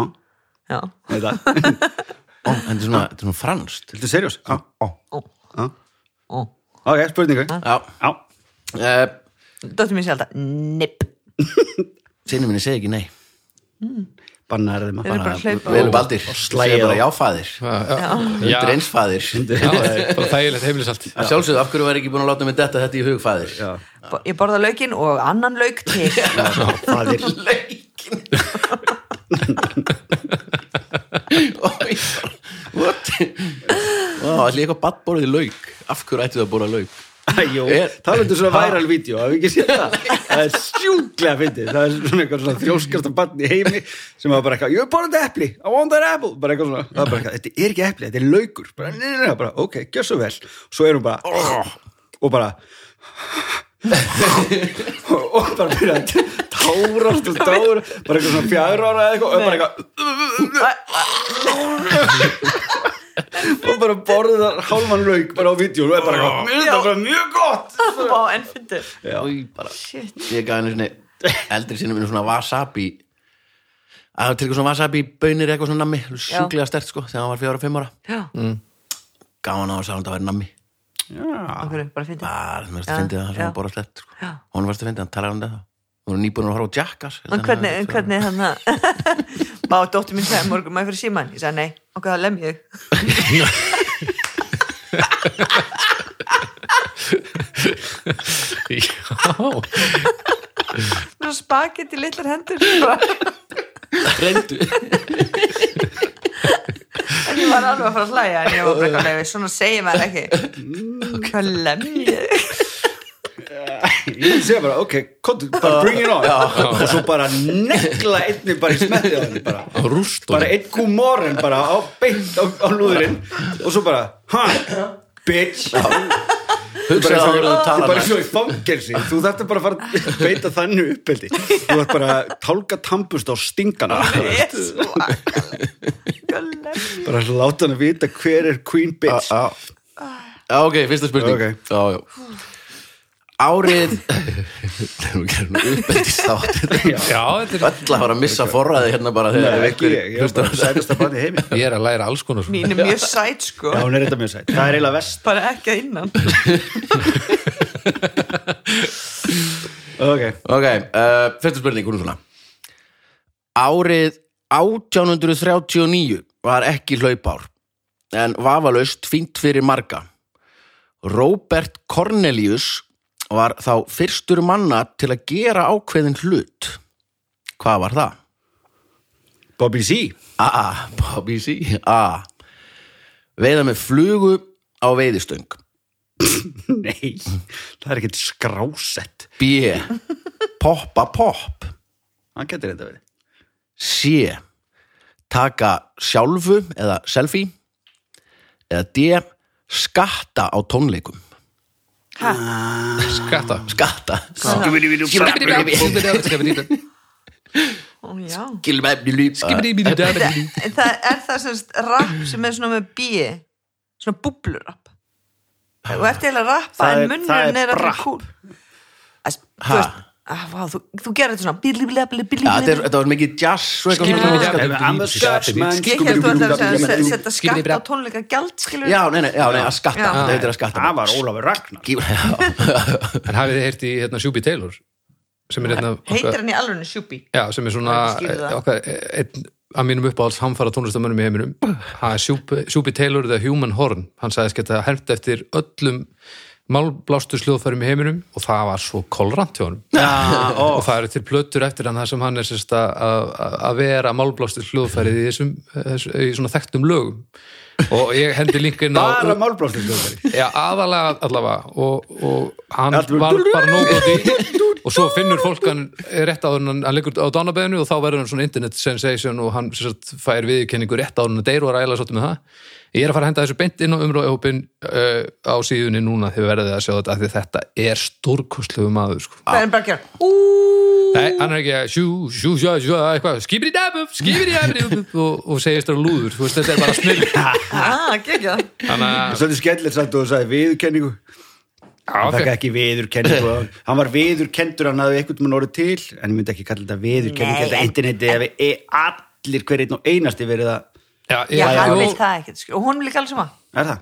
Já,
Nei, það.
Ó, þetta er svona, þetta er svona franskt.
Viltu seriós? Á, á,
ó,
á
ó
Ok, spurningu
Já,
Á,
uh,
Dóttir mín segir alltaf Nipp
sinni minni segi ekki nei.
bannar þeim að
Þeir eru bara að hlaupa
Við erum baldir,
slægir
slæði bara jáfæðir.
Já.
Undir einsfæðir.
Já, það er bara þægilegt heimilisallt
Að sjálfsögðu, af hverju var ekki búin að láta mig detta þetta í hugfæðir?
Já,
Bo- Ég borða laukin og annan lauk til
faðir
Leikin What? Ó, allir eitthvað badborðið lauk Af hverju ættu það að borða lauk?
Jó,
Er-
talandu svona væral vídeo, hafið ekki séð það? Það er sjúklega fyndið, það er svona eitthvað svona þrjóskasta barn í heimi sem var bara eitthvað, ég er borðandi epli, I want that apple, bara eitthvað svona, það er bara eitthvað, þetta er ekki epli, þetta er laukur, bara, nei, nei, nei, bara, ok, gjör svo vel, svo erum bara, "Ugh," og bara, og bara byrja að tárast og tára, bara eitthvað svona fjár ára eða eitthvað, og bara eitthvað, og bara borðið þar hálfan lauk bara á vídeo, og er bara eitthvað, "Mér finnst þetta bara mjög gott.
Vá, enn fyndu
Já.
Í, bara,
Shit
ég gaf henni svona eldri sinni minn svona wasabi að það tekur svona wasabi bönir eitthvað svona nammi sjúklega stert sko þegar hann var fjóra, fimm ára
Já,
Mm. gaf hann á að sagði hann að það væri nammi
af hverju, bara fyndu
Ah.
bara sem verðist
Já,
að fyndi það sem
já.
hann borða slett sko.
Já.
hún verðist að fyndi, hann talar um þetta hún er nýbúin að horfa á Jackass
En hvernig, en hvernig hann að Má, dóttir mín segir morgun, maður fyrir síman Ég sagði nei, ok, það lem ég
Já,
Mér er spagetti litlar hendur En
reyndu
ég var alveg að fara að hlæja En ég var bara eitthvað leiði, svona segir maður ekki Hvað lem ég
ég segja bara, ok, kontu, bara bring it on og svo bara negla einni bara í smettið á henni bara,
rúst og
bara einn gúmóren bara á beint á, á núðurinn og svo bara, ha, bitch
hugsaði
bara, bara,
áður að um þú
bara,
talar
bara svo í fangelsi þú þarft bara að fara að beita þannig uppeldi þú þarft bara að tálka tampust á stingana
Jesú, Hvað lem ég
bara að láta hann að vita hver er queen bitch
Já, Já, ok, fyrsta spurning
Ok.
já, já. Árið Þegar við gerum uppeldist átt
Já, þetta er
Öll að fara að missa forraði hérna bara
Nei,
þegar
ekki ég, ég er bara
hlustar á-
sætast að banni heimi
Ég er að læra alls konar svona.
Mín er mjög sæt sko
Já, hún er þetta mjög sætt. Það er eiginlega vest.
Bara ekki að innan
Ok.
Ok, uh, fyrsta spurning, hún er svona Árið 1839 var ekki hlaupár en vafalaust fínt fyrir marga Robert Cornelius var þá fyrstur manna til að gera ákveðin hlut Hvað var það?
Bobby C.
A, Bobby C A, veiða með flugu á veiðistöng
Nei, það er ekkert skrásett.
B, poppa popp
Hann getur þetta verið.
C, taka sjálfu eða selfie eða D, skatta á tónleikum
skatta
skatta
Ó, Já
skilmæfnilu
Þetta- en það er það sem sagt rapp sem er svona með bí svona búblurapp og eftir eiginlega að rappa
Það er-
en
það
munnurinn
er
er alveg
brapp.
kúl Þess-
Ha?
þú veist ah, vá, þú, þú gerir þetta svona bíli bíli bíli bíli
Ja, þetta er- þetta var mikið jazz og eitthvað
Skilur
svona-
við þetta?
I'm a church man.
ég held þú ætlar að segja að
Skúbidúbidúbidúbidúbidú.
setja skatt á tónleika gjald skilur
Já, nei, nei, já, nei, að skatta,
Já.
þetta heitir að skatta
Það var Ólafur Ragnar.
Gí- já.
En hafið þið heyrt í hérna, Shubi Taylor sem er, hérna,
heitir
okkar,
hann í alveg sjúbi
já, sem er svona
Ég skil það.
okkar, e, einn að mínum uppáhalds hamfara tónlistamönnum í heiminum Ha, Shubi Shubi Taylor The Human Horn hann sagðist geta hermt eftir öllum málblástu sljóðfærum í heiminum og það var svo kolrant hjá honum
Já, ó.
og það eru til plötur eftir hann þar sem hann er sérst að, að, að vera málblástur hljóðfærið í þessum þessu- í svona þekktum lögum og ég hendi linkin á
Bara málblástur hljóðfæri.
já, aðalega allavega og, og hann
Allt
var
bara-
bara nóg á því og svo finnur fólk hann eh, rétt áður en hann, hann liggur á dánabeðinu og þá verður hann svona internet sensation og hann sem sagt, fær viðurkenningu rétt áður en hann deyr og er ægilega svolítið með það ég er að fara að henda þessu beint inn á umróðahópin uh, á síðunni núna þegar verðið að sjá þetta af því þetta er stórkostlegu maður sko.
Það er bara að gera Úúúú
Nei, hann er ekki að sjú, sjú, sjú, sjú, eitthvað, skipir í dabub, skipir í dabub og, og segist það lúður, þú veist, þetta er bara snill.
Ah, gegja það
Þannig að,
Svolítið skellir samt og þú sagði viðurkenningu
já,
Hann
ok,
fekk ekki viðurkenningu Hann var viðurkendur, hann hafði einhvern mann orðið til En ég myndi ekki kalla þetta viðurkenningu
Nei,
Þetta
en-
interneti ef e allir hver einn og einasti verið að
já,
Já,
ég,
hann
jú,
vil það ekkert skilur. Og hún vil ekki alls sama
Er það?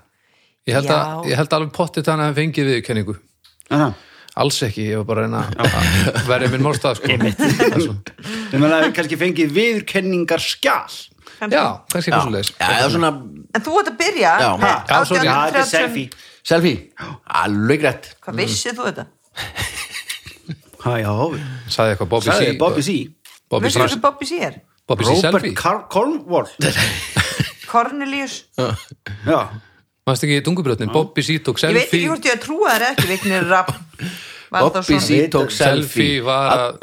ég, held að,
Já.
ég held alveg pottið þannig að hann fengið viðkenningu.
Er það?
Alls ekki, ég var bara að reyna að verja minn málstað, sko. Það er svona-
Ég meina að við kannski fengið viðurkenningar skjál
Já, kannski eitthvað svo leis.
Já, það er svona
En þú ert að byrja
Já.
með
Já, sorry.
Já, þetta er
1830.
selfie
selfie, alveg rétt
Hvað vissið þú þetta?
Ha, já, við-
Sæði eitthvað Bobby
sagði
C.
Bobby C
Bobby
Vissið
C.
þú Bobby sér?
Bobby C.
Robert
Selfie.
Car- Cornwall
Cornelius
Já,
Manst ekki í dungubrötnin, Bobby C. tók
Ég veit ekki
selfie.
hvort ég að trúa þær ekki Vignir Rapp Var það
Bobby
svona?
C tók selfie
Selfie var að...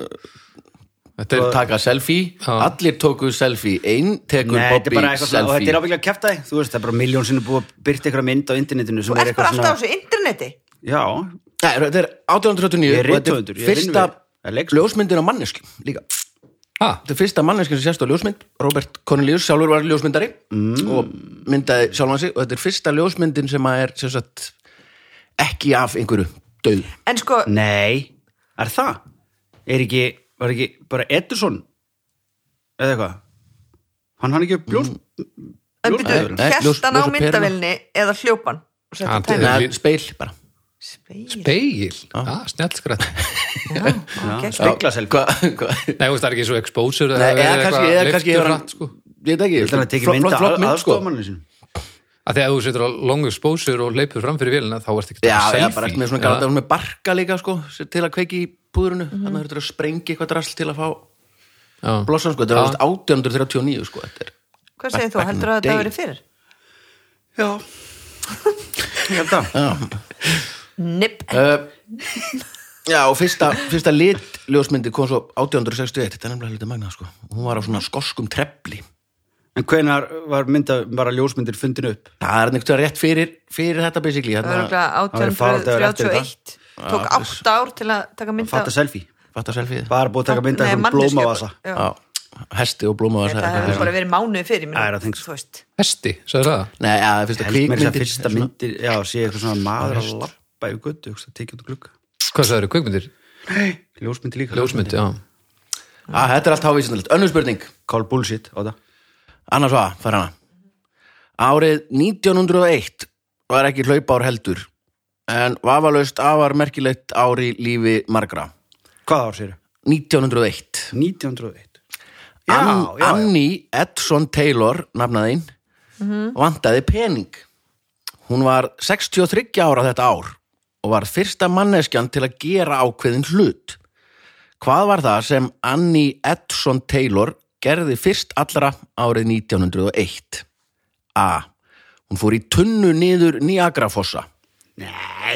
Þetta
Þeir
er
taka selfie, allir tóku selfie einn tekur
Nei, þetta er
Bobby
bara eitthvað svona, og þetta er
selfie
ábyggilega kæftæði, þú veist, það er bara miljón sinni búið að byrta eitthvað mynd á internetinu sem
Þú
er
ert bara
eitthvað
alltaf á
svona,
þessu interneti
já,
Nei, þetta er 1839
Ég er
og þetta
rithöfundur, ég er
fyrsta
vinnuvegur. Það er leikstjóri.
ljósmyndin á manneski líka
Ha,
Þetta er fyrsta manneskinn sem sést á ljósmynd Robert Cornelius sjálfur var ljósmyndari
Mm.
og myndaði sjálfan sig og þetta er fyrsta ljósmyndin sem að er sem sagt, ekki af einhverju döð
En sko,
nei, er það? Er ekki, var ekki bara Edison, eða eitthvað? Hann hann ekki upp ljós,
Mm.
en byrju,
Nei, nei, ljós-
hérst hann á
ljósa peruna.
myndavilni eða hljópan
Hann-
og setja tæmi
Nei,
Lí-
speil bara
Speil
beigil. Ah, snjallskrætt.
Já,
spegla selfie.
Hva, hva?
Nei, þú veist, það er ekki svo exposure
Nei, eða kannski, eða kannski
er
hefur hann-
hann sko.
Ég veit ekki,
Ég ætla að teki
flott,
mynd
flott, flott
að
mynd sko
aðstofamanninu sinu.
að því að þú setur á long exposure og leipur fram fyrir vélina þá ert ekki
Já, eða bara eftir með svona galda, hún með barka líka sko sem- til að kveiki í púðrunu þannig að þú þurftur að sprengi eitthvað drasl til að fá
já.
blossan sko, þetta er alveg 1839 sko þetta er
Hvað segir þú,
Back in
heldur að
the
þetta
day.
hafi verið fyrir?
Já, ég held það.
Nipp,
Uh, já, og fyrsta, fyrsta litljósmyndi kom svo 1861, þetta er nefnilega hluti magnað sko. Hún var á svona skoskum trefli.
En hvenar var mynda, bara ljósmyndir fundin upp?
Það er neitt rétt fyrir, fyrir þetta basically. Hérna,
örgulega
Það verið faraldagur eftir
1831 Tók átt ár til að taka mynda
Fatta selfie,
fatta selfið.
bara búið að taka mynda eitthvað blómavasa.
Já, hesti og blómaðar.
Þetta hefur bara verið mánuði fyrir ég meina,
Æra, thanks.
Þú veist,
hesti, sagði það
Nei, já, það er fyrsta
Held mér þess að
kvíkmyndin.
fyrsta myndir, já, sé eitthvað svona maður að lappa yfir göttu, hugsa, tekið út glugga.
hvað sagði það, kveikmyndir,
Ljósmyndir líka.
ljósmyndi, já
Á, þetta er allt hávísindalegt. Önnur spurning,
Call bullshit á það.
annars hvað, fara hana. Árið 1901 var ekki hlaupár heldur, en vafalaust afar merkilegt ár í lífi margra.
Hvað ár sér?
1901.
1901. Já,
Ann,
já, já.
Annie Edson Taylor nafnaðinn vantaði pening hún var 63 ára þetta ár og var fyrsta manneskjan til að gera ákveðin hlut hvað var það sem Annie Edson Taylor gerði fyrst allra árið 1901 A. Hún fór í tunnu niður Niagarafossa
Nei,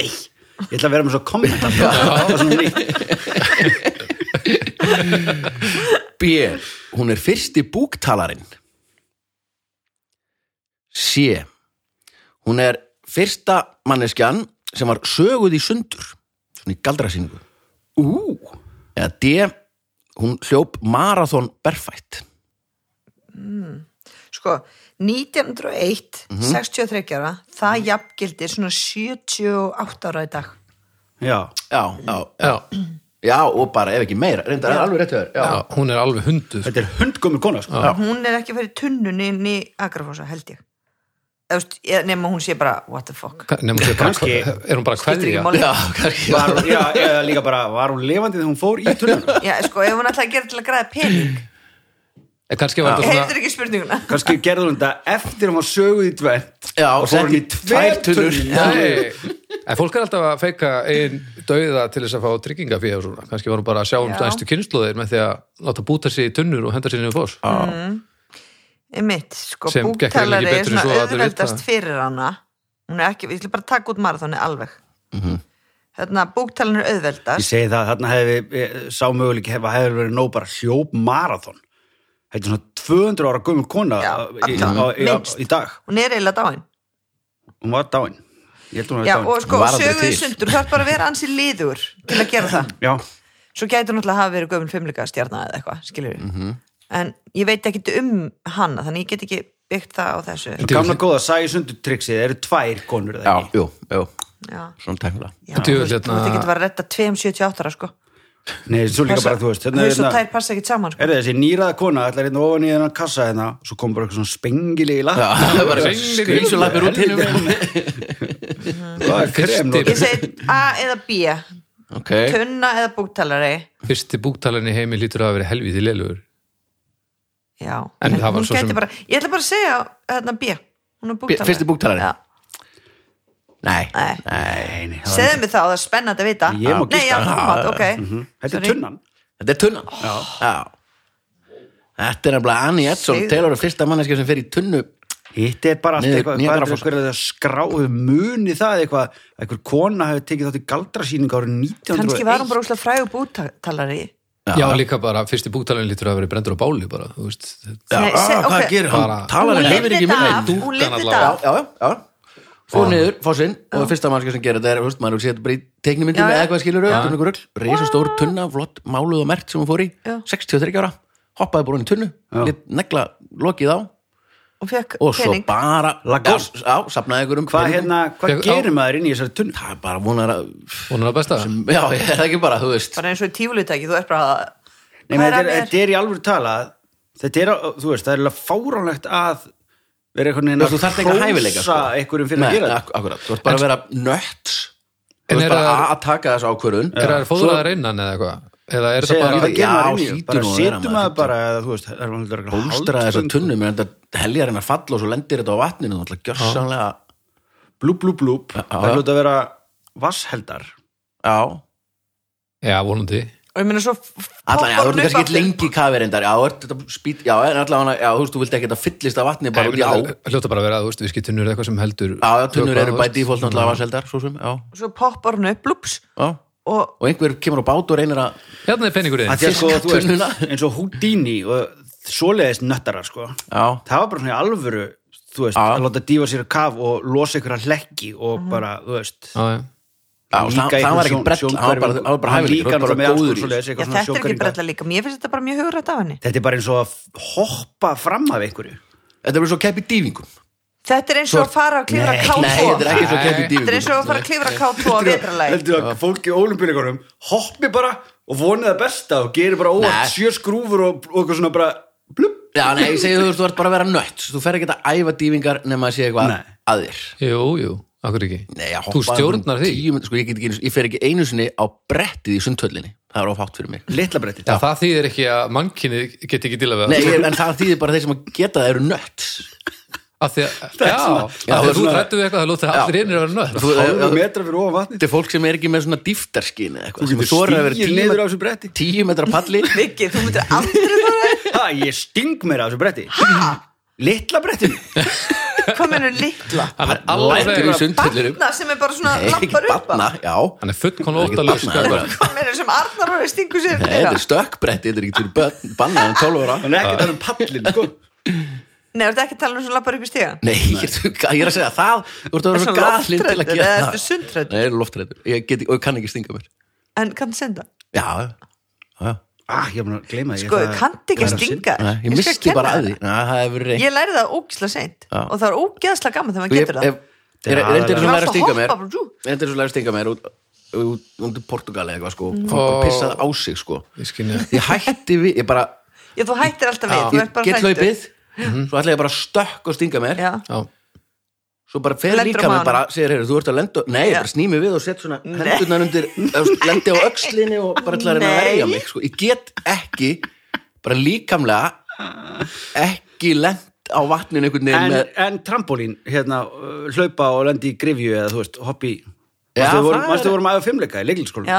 ég ætla að vera með svo komment af það. Það er svona nýtt.
B. Hún er fyrsti búktalarinn. C. Hún er fyrsta manneskjan sem var söguð í sundur, svona í galdrasýningu.
Ú,
Eða D. Hún hljóp marathon berfætt.
sko 1901 63 ára, það jafngildir svona 78 ára í dag
já.
Já, já,
já.
já, og bara ef ekki meira, reyndar er alveg rétt höfður.
Já,
Já.
hún er alveg hundu
Þetta er hundgumur kona, sko.
hún er ekki fyrir tunnunni inn í Agrafossa held ég Eða, þú veist, ég- nema hún sé bara what the fuck
nefnum þau bara,
Kannski-
er hún bara
Skiptir ekki
kveðja
máli.
Já, kannski.
Var, hún- já, eða líka bara, var hún levandi þegar hún fór í tunnuna?
Já, sko, ef hún ætlaði að gera til að græða pening
Eh, kannski var þetta
heyrður
svona
ekki spurninguna
Kannski gerði hún þetta eftir hún var söguð í tvent.
Já,
og fór hún í
setti
tvær
tvær tunnur.
tunnur. Já.
Nei, en fólk er alltaf að feika einn dauða til þess að fá trygginga fyrir og svona, kannski var hún bara að sjá um
Já.
næstu kynnslóðir með því að láta búta sig í Mm. tunnur og henda sér niður fós
Mitt, sko,
Sem gekk eiginlega ekki
búktalari
betur
er
en
svona
svo að allir vita
auðveldast
það. Mhm.
fyrir hana hún er ekki, ég ætla bara að taka út marathoni alveg hérna, búktalan er
Ég
auðveldast
segi það, þarna hefði, eh, sá möguleik hefði, hefði verið nóg bara hljóp marathon. Þetta er svona 200 ára gömur kona eh,
Já,
í,
alla,
á, í, á,
minnst.
í dag.
hún er eiginlega dáin
Hún var dáin. Ég held hún
já,
var
og
dáin.
sko,
Hún var aldrei
söguði
til.
sundur þú þarf bara að vera ansi liður til að gera það
Já,
svo gæti hún alltaf að hafa verið gömul fimmleika stjarna eða eitthvað, skilur við
Mhm.
en ég veit ekki um hana þannig ég get ekki byggt það á þessu
svo gamla góða, sæði sundur triksi, það eru tvær konur eða
Já,
ekki.
jú, jú,
já,
svona tæmla
já
Djú,
þú veist,
hérna-
þú veit ekki að vera að redda 278 sko.
Nei, svo líka
Passa-
bara, þú veist, hérna
haus
er
og
hérna,
tær passa ekki saman sko.
er þessi nýraða kona, ætlar hérna ofan í þennan kassa hérna, svo kom bara eitthvað svona spengilegi lapp.
Það var
Ringlir í-
skrýnsulappir út hinn
Það er krem,
Fyrsti-
ég segi A eða B
Ok,
tunna eða búktalari
Fyrsti búktalan í heimi lítur að hafa verið helviti leilugur.
já,
En það var
hún
svo
gæti
sem-
bara ég ætla bara að segja hérna B hún er búktalari
fyrsti búktalari?
já,
nei,
nei
Nei, nei, það var-
segðu mig það, það er spennandi að vita
Ég má Mhm.
nei, já,
giska.
tómat, ok
Hm? Þetta er
Sorry.
tunnan.
þetta er tunnan Já, Þetta er nefnilega Annie Edson
Sigurður.
Taylor er fyrsta manneska sem fer í tunnu
Hitt er bara allt
Niður-
eitthvað,
niður
hvað er
Grafarfoss.
eitthvað að skráðu muni það eitthvað, eitthvað kona hefur tekið þátt í galdrasýning árið 1901.
kannski var hún bara úslega frægur búktalari
Já, líka bara, fyrsti búktalan lítur að hafa verið brendur á báli bara, þú veist.
Já,
Nei, se-
ah, hvað
ok.
gerir hann?
Bara-
Talar hann
Hún
hefur
lifði
ekki
þetta
minni
af, hún
dúkkan allavega.
lifði þetta
Já,
af
já, já Fór niður, fórsinn og fyrsta mannska sem gerir þetta er, þú veist, maður sé þetta bara í teiknimyndum
Já, já.
eða eitthvað skilur
Já.
auðvitað rugl, reysa stór tunna, flott máluð og mert sem hún fór í,
Já.
63 ára hoppaði bara hún í tunnu,
Já.
lit negla lokið á
og fekk
og svo
pening
bara
Lacoste.
Já, já, safnaði ykkur um
Hvað hérna, hvað
Ég- á-
gerir maður inn í þessari tunnu?
það er bara vonar að
Hún er að besta.
já, ég er ekki bara, þú veist
bara eins og í tífulutæki, þú ert bara að
Nei,
Hvað
menn,
að
þetta, er,
mér?
þetta er í alvöru tala, þetta er, á- þú veist, það er alveg fáránlegt að vera einhvern veginn
Já, þú þarft engan hæfileika,
hrósa
sko.
einhverjum fyrir að
Nei,
gera þetta.
ak- akkurat, þú ert bara að vera nött þú
En
ert
er
bara
það-
að taka þessu ákvörðun
Er það fóðraðar innan eða eitthvað? Eða
Segja
er þetta
það
bara...
hvað gerir maður inn í
Já,
þessu?
hlýtur
Bara
nú að vera,
setur maður
maður
bara, eða, þú veist, það er alveg alveg
bólstra þessa tunnu, menn þetta heljar hennar falla og svo lendir þetta á vatninu, þú ætla gjörsamlega
Blúb, blúb, blúb.
Já,
Það
já.
er hlut að vera vassheldar.
já,
Já, vonandi.
og ég meina svo
allan, já, þú ert kannski ekki
aftur.
lengi kaverindar, já, þú ert þetta spýt, já, en allan, já, þú veist, þú vilt ekki þetta fyllist af vatni bara
Nei,
út í á,
ég meina, Hljóta bara að vera, þú veist, viskitunnur eða eitthvað sem heldur...
já, já, tunnur
vökva,
eru
þú Mm.
bæ
veist.
default náttúrulega vaseldar, svo sem, já,
svo poppar hún upp, blúps
já,
og
og einhver kemur á bát og reynir að,
Hérna er peningurinn.
Að því að sko, þú
tunnuna.
veist, eins og Houdini og svoleiðis nöttarar, sko.
já,
Það var bara svona í alvöru, þú veist,
Já.
að láta dífa sér að kaf og losa einhverja hlekki
Mhm.
og bara, þú veist,
Já, já.
já, það það var ekki brett, það var bara, það var bara hæfilegur,
líka
það var
náttúrulega með
bara
alls konar
góður í,
svoleiðis,
já,
eitthvað svona
þetta er ekki
sjónhverfingar.
brella líka mér finnst þetta bara mjög hugrætt af henni
þetta er bara eins og að hoppa fram af einhverju
þetta er bara svo keppi dývingum,
þetta er eins og að fara að klifra
nei,
K2
nei, þetta er ekki svo keppi
Þetta er eins og
dývingum,
að fara að klifra K2 að vetralæg
heldur að fólk í ólimpíuleikunum hoppi bara og vonið það besta og gerir bara
Nei.
óvart sjö skrúfur og, og eitthvað svona bara blub
já, nei, ég segi þú veist, þú ert bara að vera nött, þú fer ekki að æfa dývingar nema að sé eitthvað
Nei.
að þér,
Jú, jú, akkur ekki.
Nei, að
Þú
hoppa
stjórnar
um
því.
tíu mynd- sko, ég, get ekki, einu- ég fer ekki einu sinni á brettið í sundhöllinni, það er of hátt fyrir mig
litla bretti
Já, það þýðir ekki að mannkinni geti ekki til að
Nei, ég, en það þýðir bara þeir sem að geta það eru nött
að því að, já,
já, það
að því
er
að þú
svona-
rættu við eitthvað það lóta allir einir að vera nöð
hálfa metra fyrir ofan vatni
Þetta er fólk sem er ekki með svona dýftarskin eða eitthvað
Þú getur
sem þorir að vera
stigið
tíu
niður
met-
á þessu bretti.
Tíu metra palli
Viki, þú myndir aldrei fara
ha, ég sting mér af þessu bretti ha? litla bretti
hvað mennur litla
hann er
Lætur í
alveg,
sundhöllinum
batna sem er bara svona
Nei, ekki
lappar upp
batna,
af.
já
hann er fullkona
Það er ekki
óttalus
barna, það er bara-
hvað mennur sem Arnar voru stingu sér
Nei, þetta er stökkbretti, þetta er ekki til börn Banna um 12 ára
hann er ekki það um pallin sko.
Nei, þetta ekki að tala um sem lappar upp í stígan
Nei, ég er að segja það Þú ert að vera
Svona
svo gaflinn til að
loftræddur,
gera
eða
það
ertu sundræddur?
Nei, ég er loftrættur Ég get, og ég kann ekki stinga mér
en kanntu senda
Já, já, já
ah, ég er búin að gleyma því
sko,
Ég ætla að-
kanntu ekki
það
að
er synd.
stinga þér.
Nei, Ég
skal
misti
kenna
bara
þér
að því Nei, það hefur reynd
ég lærði það ógislega seint
Eh. Já.
og það er ógeðslega gaman þegar
Ég-
maður getur það
ef- Ég
Þetta er
reyndi
aðalega-
þess að læra að
Þú
stinga
varst að
mér
hoppa bara, jú.
Reyndi þess að læra að stinga mér út, út, út í Portugal eða eitthvað sko Fólk bara pissaði á sig sko
Ég skynja.
Ég hætti við, ég bara
Já, þú hættir alltaf við, þú
Ég
ert bara
get
hræddur. Mhm.
hlaupið Svo ætla ég bara að stökk og stinga mér
Já,
Svo bara fer
Lendir á
líka mér
maganum.
bara Segir, heyrðu, þú ert að lenda Nei, ég
Já.
bara sný mig við og set svona
Nei.
hendurnar undir eða þú veist, Lendi á öxlinni og bara ætla að reyna að
Nei.
verja mig sko Ég get ekki, bara líkamlega Ekki lent á vatninu einhvern veginn
en,
með
en trampolín, hérna, uh, hlaupa og lendi í grifju eða þú veist, hoppi
Já,
Manstu, við
það
vorum,
er-
manstu, við vorum aðeins fimmleika í leiklingsskóla
já,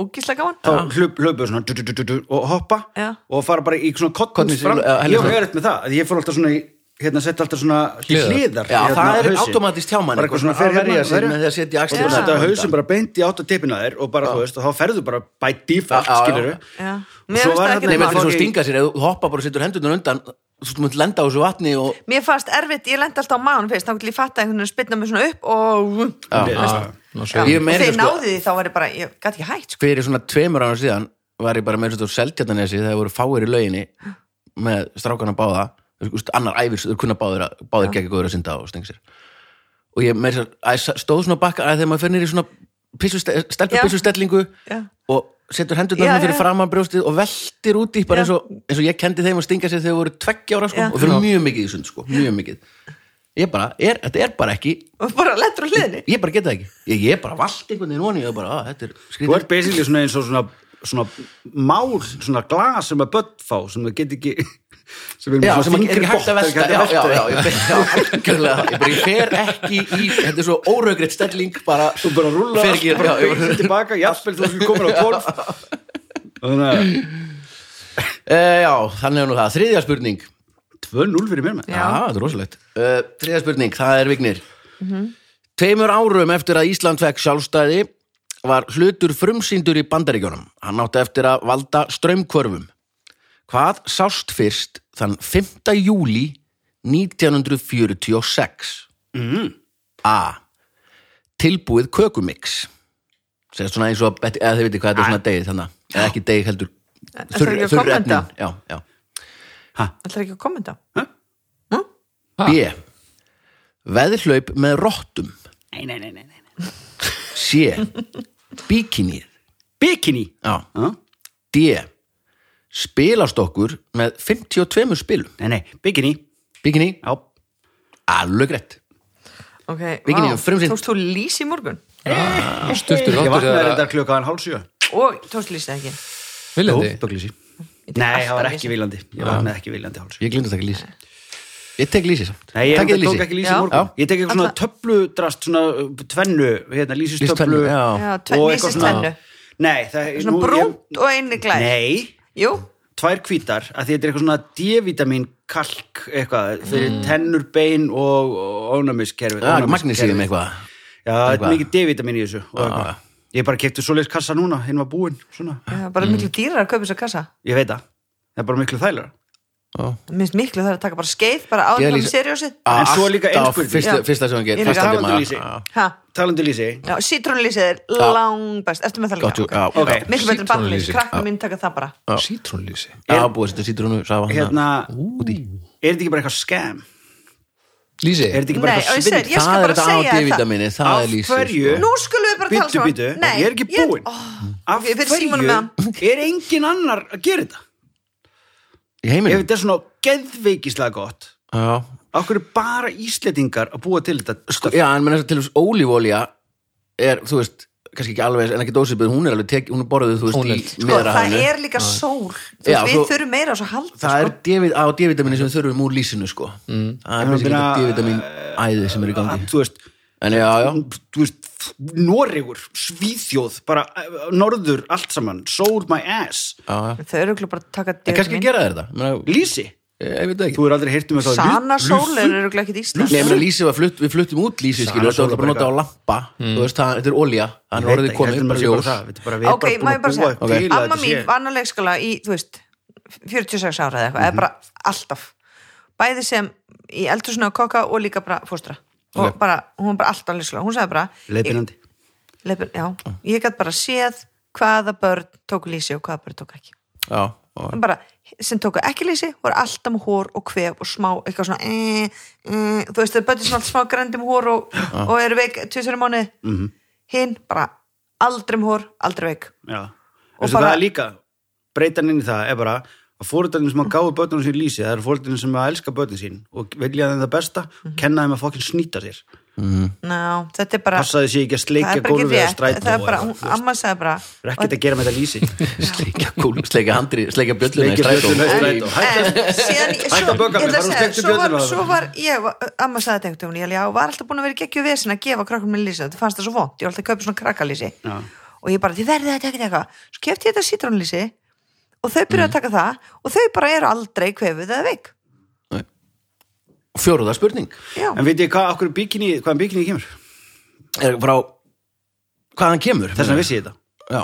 ógislega gaman
þá hlaup, hlaupu svona du, du, du, du, du, og hoppa
Já.
og fara bara í svona
Kollhnísi-
kottnins fram
já, helviti.
ég var erfitt með það, að ég fór alltaf svona í hérna sett alltaf svona til
Hliðar.
hliðar
Já,
hérna,
það er
hausinn.
automatist hjá manni
bara eitthvað svona
að
fyrir
verja
hérna
sig
verja-
með því að setja
Þú
axlir
veist,
Já.
þetta hausum bara beint í átt að tippina á þér og bara þú veist, og þá ferðu bara by default,
Já, já, já.
skilur
Já.
Svo
Mér finnst um
var
það
þarna-
ekki
Nei, menn
Nei,
fyrir svo
ok.
stinga sér, ef þú hoppa bara og setur hendurnar undan þú munt lenda á þessu vatni og
Mér fannst erfitt, ég lendi alltaf á maðan fyrst, þá getur ég fatta einhvern veginn að spynna mig svona upp og...
Ah, ná,
Já.
svo-
Ég
Og
meina
þegar ég
sko-
náði því þá var ég bara, ég gæti ekki hægt sko.
fyrir svona tveimur ára síðan var ég bara með svona seltjarnanesi þegar voru fáir í lauginni með strákana báða þú veist, annar æfir, þau kunna báðir, að- báðir gegn góður að synda og stinga sér og ég með þess að ég stóð svona á bakka að þegar maður fyrir í svona pissu, stelpu
Já.
pissustellingu
Já.
og setur hendurnar
Já,
svona fyrir
já.
framan brjóstið og veltir út í bara
Já.
eins og, eins og ég kendi þeim að stinga sér þegar þau voru tveggjára sko,
Já.
og fyrir mjög mikið í sund sko, mjög mikið ég bara, er, þetta er bara ekki
og bara lettur á hliðinni
ég bara geta það ekki, ég, ég bara vald einhvern veginn voni, ég bara, að, þetta er
þú
skrítið
ert basically svona eins og svona, svona mál, svona glas sem að börn fá sem það get ekki sem er með
Já,
svona
sem er ekki hægt að
fingerbótt,
velta
það
Já,
er ekki hægt að velta
já, já, ég be- já, algjörlega Ég bara, ég fer ekki í Þetta er svo óraugrétt stelling bara
þú bara rúla
Fer ekki,
bara
já, ég
beisil tilbaka, jafnvel þú sem komin á golf þannig að
e, Já, þannig er nú það Þriðja spurning Já,
2-0 fyrir mér með
Já.
þetta er rosalegt e, Þriðja spurning, það er Vignir Tveimur árum eftir að Ísland fekk sjálfstæði var hlutur frumsýndur í bandaríkjónum Hann átti eftir að valda strömmkvörfum Hvað sást fyrst þann 5. júli 1946? Mm. A. Tilbúið kökumix Segðu svona eins og eða þið veitir hvað þetta er svona degið þannig eða ekki degið heldur
Það er ekki að kommenta
efnin. já, já.
Það er ekki að kommenta
B. Veðhlaup með rottum
nei, nei, nei, nei, nei.
C. Bikinið
bikini
já.
Já.
D. Spilastokkur með 52 spilum
nei, nei, bikini
Bikini,
já,
alveg rétt
Ok,
Bikini
vá,
og frumsýnd.
tókst þú lýs í morgun
Sturtur
ég
ráttur
vaknaði
eða
þetta klukkaðan hálfsjö
og tókst lýs ekki
viljandi
böglísi
Ég tek
nei,
alltaf
það var
lýsi.
ekki viljandi ég vaknaði ekki viljandi hálfsjö
Ég glindu að taka lýsi Ég tek lýsi samt
Nei, ég
Takið
enda tók ekki lýsi
Já.
í morgun.
Já.
Ég tek eitthvað svona töfludrast, svona uh, tvennu, hérna, lýsistöflu.
Lýsistöflu, já.
Já, tve-
og eitthvað
lýsistvennu.
svona- Nei, það er...
Svona brúnt og einni glær
Nei,
Jú,
tvær hvítar, að því þetta er eitthvað svona D-vitamin kalk, eitthvað, fyrir tennur, bein og ónæmiskerfi.
Mm. Já,
ónæmiskerfi.
Magnísíum eitthvað
Já, það er
Eitthvað.
mikið D-vitamin í þessu. og eitthvað. Ég bara kefti svoleiðis kassa núna, hinn var búinn, svona.
það er
Mm.
bara miklu dýrar að kaupa þess að kassa
Ég veit það. Það er bara miklu þægilega.
Mér finnst miklu það er að taka bara skeið bara
Ég
áður
lýsi-
með seriósið
Ah,
En svo líka
alltaf
einspurning.
Fyrsta,
Já.
fyrsta sem hann
Ég
gerir
er líka
Fyrsta
talandi
tíma-
lýsi.
Já.
Ha,
Talandi um lýsi,
já, sítrónlýsið er langbæst Ertu með það
Gott, jú,
líka?
já,
Ok.
já.
Miklu betur en barnlýsi,
Sítrónulýsi.
krakka mín taka það bara
Sítrónlýsi
Já, búið að setja sítrónu, safa hann
hérna, er þetta ekki bara eitthvað skam?
Lýsi
Er þetta ekki bara
Nei, og
eitthvað
ég segi,
svindl?
ég skal
Það er
bara
þetta á
segja þér það
D-vitamini, það er
Af
lýsi
hverju?
sko.
Nú skulum við bara tala
Bittu,
saman
bittu,
Nei,
ég er ekki búinn
Ó,
Af
ég fyrir símanum með hann.
hverju er engin annar að gera þetta?
Í
Ef
heiminum?
þetta er svona geðveikislega gott
Já,
Af hverju bara Íslendingar að búa til þetta
sko, já en menn þess að til þess ólífólja er, þú veist, kannski ekki alveg en ekki dósipið, hún er alveg tek, hún er borðið, þú
Hún er-
veist, í
Sko, það
meðrahæðinu
er líka sól Þú
Já,
veist, Við
þú-
þurfum meira á svo halda
Það
sko.
er D-vit- á D-vitamini sem við þurfum úr lýsinu, sko
Mm.
Það er
Ég
basically
meina, eh,
þetta D-vitamin æði sem er í
Að,
gangi
Þú veist,
En já, já,
þú veist Noregur, Svíþjóð bara eh, norður allt saman Sold my ass
já, já
Þau eru ekki bara að taka
En kannski
D-vitamin
gera þeir þetta, menn að-
Lýsi,
ég ég veit það ekki
þú er aldrei heyrt um það
Sana sól eru ekki ekki Ísland
Nei, ég meina, lýsi var flutt, við fluttum út lýsi, skilur, þetta
Sóla
var bara
bara
notað á lampa
Mm.
Þú veist, það, þetta er olja, hann orðið komið, bara ljós
Ok,
Ok, maður bara segja
Ok. til
Amma mín var annað leikskóla í, þú veist 46 ára eða eitthvað, eða bara alltaf Bæði sem í eldhúsinu að kokka og líka bara fóstra og bara, hún var bara alltaf leikskóla, hún sagði bara
Leipinandi
ég- leiðbein- já, ég gætt bara séð hvaða börn tók lýsi og hvaða börn tók ekki
Já, já,
En bara, sem tóku ekki lýsi voru alltaf með hór og kvef og smá eitthvað svona e, e, þú veist, þeir böttu svona alltaf smá grændum hór og, og eru veik tvisverjum mánu mm -hmm. hinn bara aldrei með hór, aldrei veik
Já,
Og
og bara, það
bara-
er líka breytan inn í það er bara að fóröldarnir sem að gáðu börnunum sín lýsi það eru fóröldarnir sem að elska börnun sín og vilja þeim það besta,
Mhm.
kenna þeim að fokkin snýta sér
Ná, þetta er bara
passaði sér ekki að
það
sleikja
er bara ekki
gólfið eða
rétt,
strætó
það er bara,
eða-
hún, amma sagði bara
Það er ekkert að gera með þetta lýsi
sleikja kúl, sleikja handri, sleikja bjölluna
Sleikja
í
bjölluna í strætó.
strætó
en síðan ég-
Hættu
svo,
að bögga
ég
mig, það
ætla að
er hún
segja,
steikti
svo var,
bjölluna á
svo var ég, var- amma sagði þetta einhvern veginn, ég alveg, já, var alltaf búin að vera í geggju vesen að gefa krakkum minn lýsi, þetta fannst það svo vont ég var alltaf að kaupa svona krakkalýsi
Já.
og ég bara, þið verðið þetta ekkert eitthvað svo kefti ég þetta sítrónlýsi
Mm.
og þau byrjuðu að taka það og þau bara eru aldrei kvefuð eða veik
Fjóruða spurning
já,
En veit ég hvað, okkur bikini, hvaðan bikini kemur?
er frá hvaðan kemur
Þess vegna vissi ég þetta.
Já,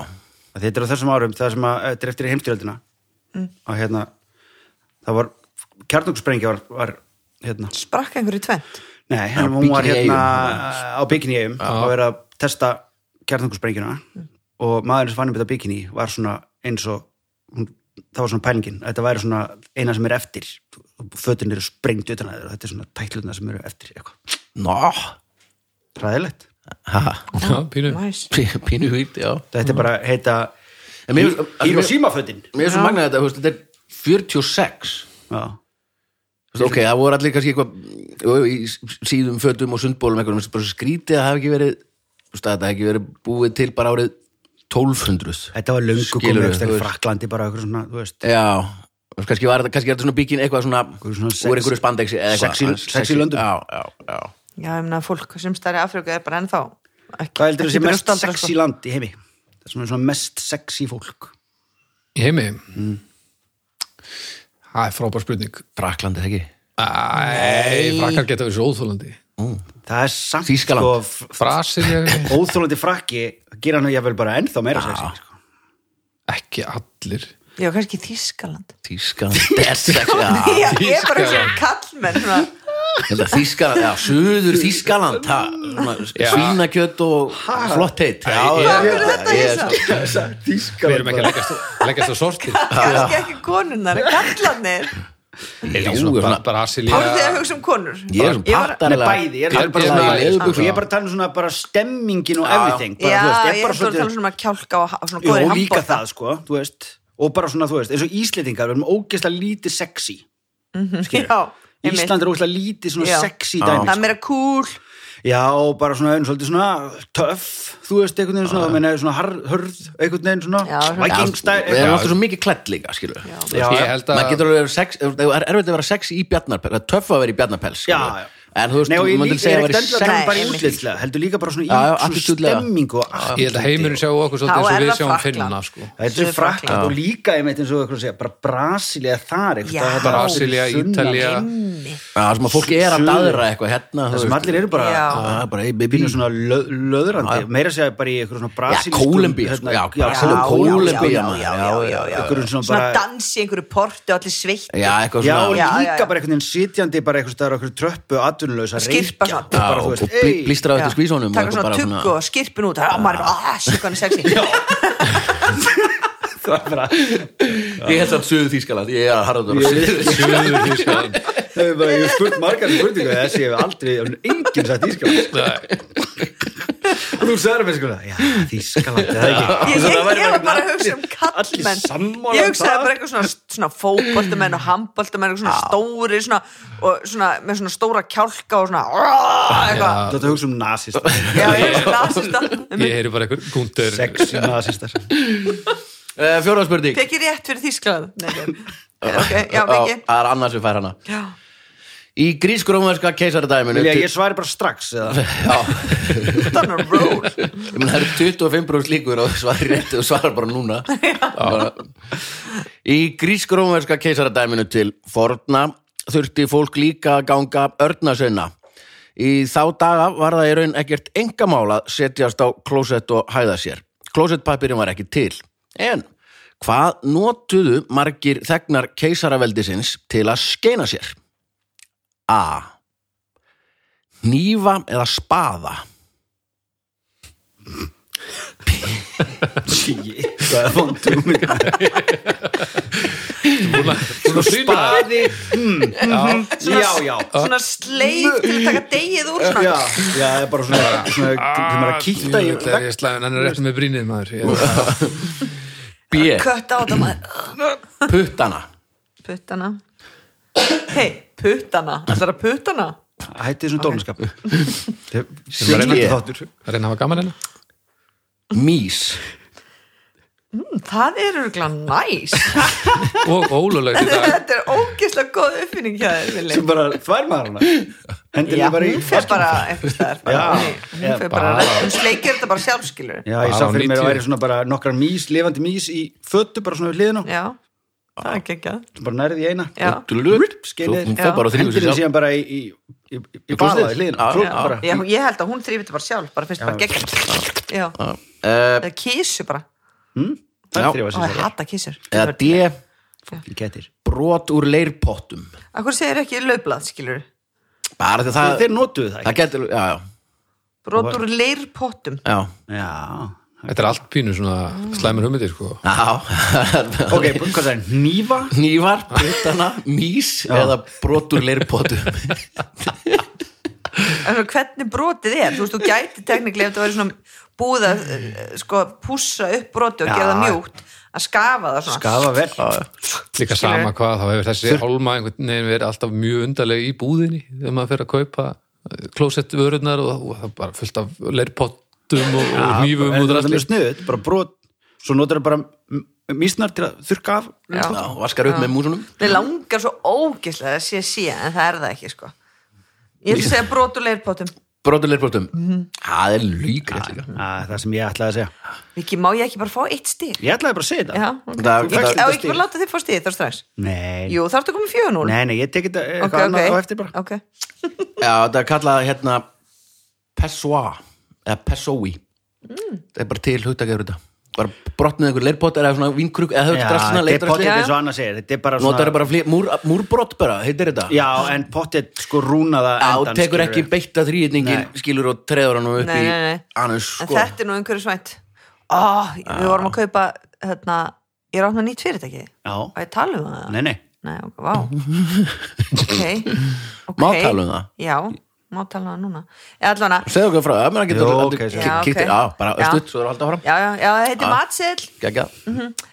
Að Þetta er á þessum árum, það sem að, eh, þetta er eftir heimstyrjöldina. Að hérna, það var, kjarnungsprengja var, var hérna,
sprakk einhverju tvennt
nei, en hún var
Bikini-eyjum.
hérna á bikini eigum og verið að testa kjarnungssprengjuna og maðurinn sem fann upp þetta bikini var svona eins og, hún, það var svona pælingin, þetta væri svona eina sem er eftir, fötin eru sprengt utan að þér og þetta er svona tætluna sem eru eftir eitthvað.
ná
Ræðilegt.
ha,
Já, pínu.
Næs.
pí- Pínu hvít, já
Þetta er bara að heita
En mér- mér-
Hiroshima-fötin.
Mér er svo magnað þetta, þú veist, þetta er 46
Já.
Þú veist, Ok, það voru allir kannski eitthvað jú, jú, í síðum fötum og sundbólum eitthvað, mér finnst bara svo skrítið að það hafi ekki verið þú veist, að þetta hafi ekki verið búið til bara árið 1200
Þetta var löngu
Skilurðu,
komið eftir
þú
í
veist. Eh,
Fraklandi bara eitthvað svona, þú veist
Já, og kannski var þetta kannski er þetta svona bíkin eitthvað svona
svona sex-
úr einhverju spandexi eða eitthvað
sexy-
Aðeins
sexy löndum.
Já, já, já
já, ég meina að fólk sem stærri Afríku er bara ennþá ekki,
Hvað heldur
ekki
þessi mest
brjóstaldra,
sexy land í heimi? Það sem er svona mest sexy fólk
Í heimi?
Mm.
Það er frábær spurning.
Frakland er það ekki
Æ, frakkar geta verið svo óþólandi.
Það er samt
Þýskaland.
sko f-
Frasir er
óþólandi frakki gera hann jafnvel bara ennþá meira sexy sko.
ekki allir.
sko. já, kannski Þískaland
Þýskaland er sexy
Ah,
já.
já, ég er bara svona
Þýskaland.
kallmenn svona,
Ég held að Þýskaland, já, suður Þýskaland ha, svona svínakjöt og flott heitt Já,
Æ,
já,
Hvað
er þetta
ég-
hérna?
Við erum ekki að um leggjast, leggjast á sorti.
kannski ekki konunnar, kallanir
Já,
Já,
svona-
svona Brasilia.
voru þið að hugsa um konur
Ég er svona
Ég var-
Nei,
pattarilega
bæði, ég er bara
Ég- ég-
að
ég-
tala um sko,
ég-
Ég er bara að tala um svona bara stemmingin og everything
já,
bara, þú veist,
ég er svona að tala
svolítið-
svona um að kjálka og, ha- og svona
Jó,
góðir
líka
hambúrgar.
það, sko, þú veist og bara svona, þú veist, eins og Íslendingar við erum ógeðslega lítið sexy
já, einmitt.
Ísland er ógeðslega lítið svona
Já.
sexy
Já.
dæmi sko.
það er meira cool
Já, og bara svona, einn svolítið svona töff, þú veist, einhvern veginn svona, meina, svona har, hörð, einhvern veginn svona
Já, svona-
vikingstæl,
Við erum
eitthvað.
sko, alltaf svo mikið klett líka, skilu
Já.
Já,
Ég
já.
held
Maður
að
getur alveg verið sex, ef það er erfitt að vera sex í bjarnarpels, það er töff að vera í bjarnarpels
Já,
skilurðu.
já.
En þú veist,
Nei, og
þú
ég
myndir
líka,
segja
ég
að
er ekki endilega
vera í
að tala um
sex
Nei,
bara í
einmitt.
útlitslega, heldur líka bara svona í
Já, já,
svona
attitúdlega.
stemming og allt.
ég held að heimurinn sjáu okkur
Þá
svolítið eins
er
og við
það
sjáum
Frakkland.
finnina sko.
Þetta er frakland
Já.
og líka, ég meit eins og eitthvað segja, bara Brasilia þar,
Já.
eitthvað. þetta er
Brasilia,
allir sunnan.
Ítalía
Einmitt.
Já, sem að fólki er að
Suður.
daðra eitthvað hérna þú
Það sem
veist.
allir eru bara,
Já.
Já, það er bara, hey baby
bínu svona löð, löðrandi, meira að segja bara í eitthvað svona
Já,
Brasilia.
Kólumbía, sko, já,
hérna. já,
Brasilíu,
já,
Kólumbía
já,
maður,
já, já, já, já.
Einhverjum svona
svona
bara-
dansi í einhverju portu allir sveitt
Já, eitthvað
Já, og
svona
Já, já,
líka
já.
bara einhvern veginn sitjandi bara einhvers staðar á einhverju tröppu atvinnulösa reykja
Skyrpa svona.
og bara, þú
og
veist,
bl
"Ey,
blístra á eftir skvísunum
taka svona tugg og skirpin út og maður er bara, ah, sjúkan er sexy
það er bara
Ég held samt söðu Þýskaland, ég er að harða það
Suður Þýskaland
Það er bara, ég hef spurt margar spurningar þessi ég hef aldrei, enginn sagt Ískaland og þú sagði mér sko já, Ískaland, það er ekki
Ég,
Svo
ég,
það væri
ég var bara að
allir-
hugsa um kallmenn
allir sammála
Ég
um
hugsaði
það.
bara eitthvað svona, svona fótboltamenn og handboltamenn og svona stóri svona, og svona, með svona stóra kjálka og svona "Aah", eitthvað
Þú ætti að hugsa um nasista
Já, ég er svona
Ég heyri bara einhver Gunther
sexy nasista
Fjóra Eh, spurning
Pekki rétt fyrir Þísklað Ok, já,
Á,
Pekki
Það er annars við Ah, fær hana
Já,
Í grísk-rómverska keisaradæminu
Vilja, ég svari bara strax eða
þannig að ról
Ég meina, það eru 25 brúst líkur og svarir rétt og svarar bara núna bara. Í grísk-rómverska keisaradæminu til forna þurfti fólk líka að ganga örnaseina Í þá daga var það í raun ekkert engamál að setjast á klósett og hæða sér Klósettpapirinn var ekki til En hvað notuðu margir þegnar keisaraveldisins til að skeina sér? A. Nýfa eða spaða?
Sí, það er vondum
Svona frýna
Spaði mm, mhm, Já, já
Svona sleik til að taka degið úr
Já,
svona
já, það er bara svona svona, þegar maður er að kýtta í
Það er ég slæðin, hann er rétt með brínið maður Ég-
B.
Kött á þetta maður
puttana
Puttana Hei, puttana Það er að puttana
Hætti þessum dónaskap
Sem er
Sjönglandi
ég.
þáttur
að reyna að hafa gaman hérna
mís
Það er örgulega næs
Og ólulegt í dag
Þetta er ógeðslega góð uppfinning hjá þér, Vili
sem bara þvær maður hana hendur
Já,
henni bara í
hún fer bara einhvers staðar bara,
Já,
Hún hún
já,
fer bara,
bara-
hún sleikir þetta bara sjálfskilur
já, ég sá
Bara á
fyrir mér að
90.
væri svona bara nokkrar mís, lifandi mís í fötu bara svona við hliðina á.
Já, það er ekki ekki
bara nærði í eina
Já.
Og dullut.
Rup, skilur.
Svo hún fer bara og þrífur
hendur þið
sér sjálf.
síðan bara í, í, í, í, í baða
klósettið?
í hliðina
Já.
Kló-
Já.
bara.
Já, ég held að hún þrýfið þetta bara sjálf bara finnst bara gegn Já,
Eh,
eða kísu bara
Það
Já.
er þrjá
og
sér
ég hata kísur
Eða D.
Í kettir
Brot úr leirpottum.
Akkur segir ekki laublað, skilur
Bara því
Þeir
það,
þeir notuðu það
það
ekki
getur, já, já,
Brotur leirpottum
já.
Já
Þetta er allt pínu svona slæmur humidir sko.
Já,
Ok, hvað það er? Nýfa?
nývar, byttana, mís eða brot úr leirpottum.
En svona, hvernig brotið er, þú veist, þú gæti tekniklega ef það væri svona búið að eh, sko, pússa upp brotið og
Já.
gera það mjúkt að skafa það svona
Skafa vel
Líka
Skilur.
sama hvað, þá hefur þessi hálma einhvern veginn verið alltaf mjög undarlega í búðinni þegar maður fer að kaupa klósett vörunar og, og það er bara fullt af leirpottum og, og
En Það
nýfum og
er mjög
drastli.
snuð, þetta er bara brot Svo notur það bara m- mísnar til að þurrka af
Já.
Já, vaskar upp með músunum.
Mér langar svo ógislega að sé sé en það er það ekki, sko Ég ætla að segja brotur leirpottum
Brot úr leirpottum.
Mhm.
Það er líkrið líka.
Mm.
Æ, Ah, Það sem ég ætlaði að segja
Viki, má ég ekki bara fá eitt stíl?
Ég ætlaði bara að segja þetta
Já, ok.
Það-
Ég-
það-
Á, ég ekki bara láta þið fá stíð, það er strax
Nei,
Jú, þarftu að koma í fjögur núna
nei, nei, ég tekið þetta eh,
Ok,
eitthvað annað á eftir
ok,
bara
ok
Já, þetta er kallað hérna Pessoa eða Pessoi
Mm.
Það er bara til hugtakjafur þetta bara brotnið einhver leirpott eða svona vinkruk eða
Já,
höfðu drastna
þetta er pottet
leirdrastli
Já.
eins og annað segir Þetta er bara
Notar
svona
bara flý, múr, múrbrott bara, heitir þetta
Já, en pottet sko rúnaða
Já,
endan,
tekur
skilurðu.
ekki beitta þrýðningin skilur og treður hann nú upp
Nei,
í
nei, nei.
annars
En
sko
þetta er nú einhverju svænt Ó, við
Ah.
vorum að kaupa hérna, ég er átna nýtt fyrirtæki og
Já,
ég tala um það
nei, nei
Nei, ok, vá Ok, ok
Má tala um það?
Já, má tala um það núna Ég allan að,
Segðu okkur frá, það meðan getur
Jú,
alveg-
ok,
alveg-
segðu.
kíktir-
Já,
kíktir-
ok.
Já, bara
Já.
östuð, svo er alltaf fram
já, já, já, Mm. það
Ah.
heiti matseðl
Gægja,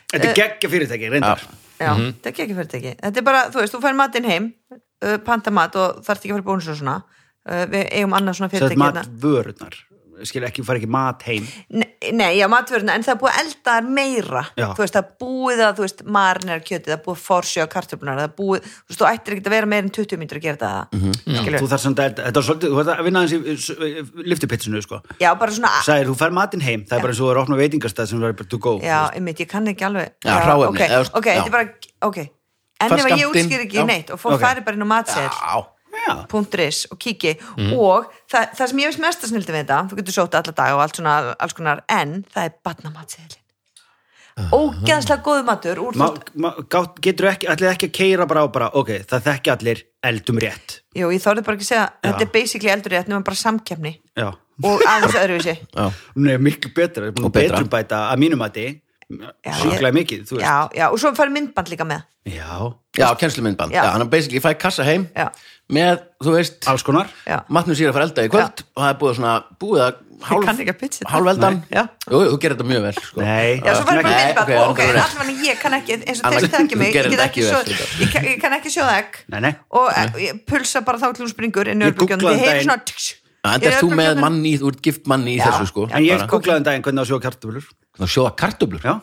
Þetta er geggja fyrirtæki, reyndar
Já,
Mhm.
þetta er ekki fyrirtæki Þetta er bara, þú veist, þú fær matinn heim uh, panta mat og þarft ekki að fara í bónus og svona uh, Við eigum annað svona
Sett
fyrirtæki
mat
hérna. Mm.
vörurnar Skilur ekki, fara ekki mat heim
Nei, nei, já, matvöruna, en það er búið að elda þær meira
Já.
þú veist, það er búið að, þú veist, marinar kjötið það er búið að forsjá kartöflunar það er búið, þú veist, þú ættir ekki að vera meira en 20 mínútur að gera það
Mhm.
mm
Þú þarf samt að, þetta er svolítið, þú þarf að vinna aðeins í liftupitsinu, sko
já, bara svona,
Sæðir, þú fær matinn heim, það er bara eins og þú er að opna veitingastað sem verður bara to go
já, einmitt, ég kann ekki alveg
Já, hráefni,
ok,
eða-
ok,
já.
þetta er bara, ok en
Fær
ef að ég
skammtinn,
útskýr ekki
já.
neitt og fólk
Ok.
fari bara inn á matsel
á
Já,
.is og kíki
Mhm.
og það, það sem ég veist mest að snildi við þetta þú getur sóta alla dag og allt svona, alls konar en það er batnamatseðlin ógeðslega góðu matur úr,
ma,
Ma
ma, gát, getur ekki, allir ekki að keira bara á bara, ok, það þekki allir eldum rétt
jú, ég þorði bara ekki að segja þetta er basically eldur rétt nema bara samkefni
Já,
og aðeins öðruvísi
Já,
Nei, miklu betra,
Og
og
betra.
betra bæta að mínum mati, sjúklega mikið, þú veist
já, já, og svo fari myndband líka með
Já,
já kennslumyndband
Já.
Já, hann er basically, ég fæ kassa heim
Já.
með, þú veist
alls konar
Sko.
já,
matnum sér að fara elda í kvöld og það er búið svona, búið að
kann ekki að pitcha þetta.
hálf eldan,
Nei. Já.
jú, jú, þú gerir þetta mjög vel sko.
Nei,
já svo fari bara
Nei, ok,
myndband og ok,
annars er rétt.
allavega ég kann ekki eins og
Annars-
þeir þekki mig,
þú
ég
gerir
get
þetta
ekki
ekki
svo,
vel, þetta.
ég, kann- ég kann ekki sjóða egg
Nei, nei.
og e, ég pulsa bara þá til hún springur inn í
Ég
örbulgjónum,
googlaði
ég heyri
daginn.
svona
um
tx,
Já,
í
enda ert þú með
örbylgjónum.
mann í, þú ert gift mann í
Já.
þessu sko
Já,
En ég
bara,
googlaði en daginn hvernig að sjóða kartöflur
Þú sjóða kartöblur
Já,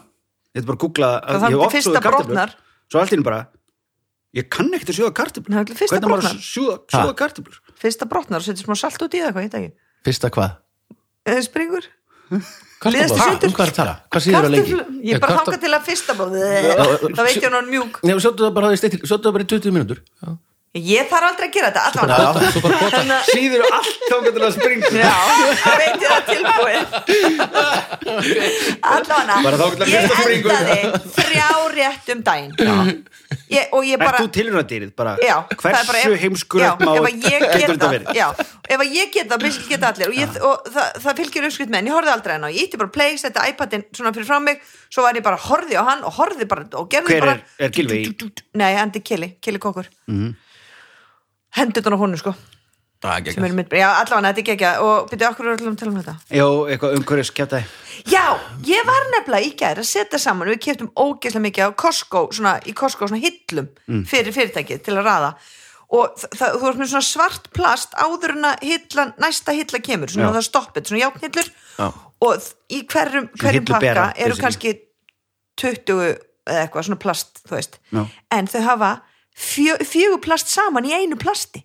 ég er bara að googla
Það
ég
þarf
hef oft
fyrsta
sjóðað kartöflur.
brotnar.
Svo allt í einu bara, ég kann ekkert að sjóða kartöflur
Það er
Hvernig
fyrsta
á maður að
brotnar.
sjóða- sjóða kartöflur
fyrsta brotnar og setur smá salt út í það hvað, ég veit ekki,
Fyrsta hvað?
eða springur Liðast
Kartöblur?
í sundur.
Um hvað er að tala? Hvað síður að lengi?
Kartöflu- ég
Já,
bara
kartöflu-
hanga til að fyrsta bara- þá veit ég hann mjúk
Nei, sjóttu það bara, í styttir- sjóddu það bara í 20 mínútur
ég þarf aldrei að gera þetta, allavega Hérna-
Já.
Svo bara kota
Þannig að-
Síður allt þá getur það að springa
Já, það veit ég það tilbúið
Bara þá getur
Allána
að
Ég
fyrsta springur.
endaði þrjá rétt um daginn ég, Og ég
Ert
bara
þú tilrunadýrið bara?
Já, það er
Hversu
bara-
bara, heimskur
já,
má
ef að ég get
getur þetta
það,
verið?
já, ef að ég get það, basically geta allir og, ég, og það, það fylgir uppskrift með en ég horfði aldrei hann og ég ítti bara play, setti iPadin svona fyrir fram mig, svo var ég bara horfði á hann og horfði bara og gerði
Hver
bara
er, er Mhm. Gilvi í?
Nei, Andy Kelly, Kelly Kokkur mm. á honum sko sem er mitt, já allavega þetta er ekki og byrjuðu okkur að tala um þetta
Já, eitthvað umhverjus kjátaði.
Já, ég var nefnilega í gæri að setja saman við keftum ógeðslega mikið á Costco svona, í Costco svona hillum
Mm.
fyrir fyrirtækið til að raða og þa- það, þú ert með svona svart plast áður en að hillan, næsta hilla kemur svona
Já.
það stoppið, svona játnhillur
Já.
og þ- í hverjum, hverjum
hillubera,
pakka eru
basically.
kannski 20 eða eitthvað svona plast, þú veist
Já.
en þau hafa fjö, fjögur plast saman í einu plasti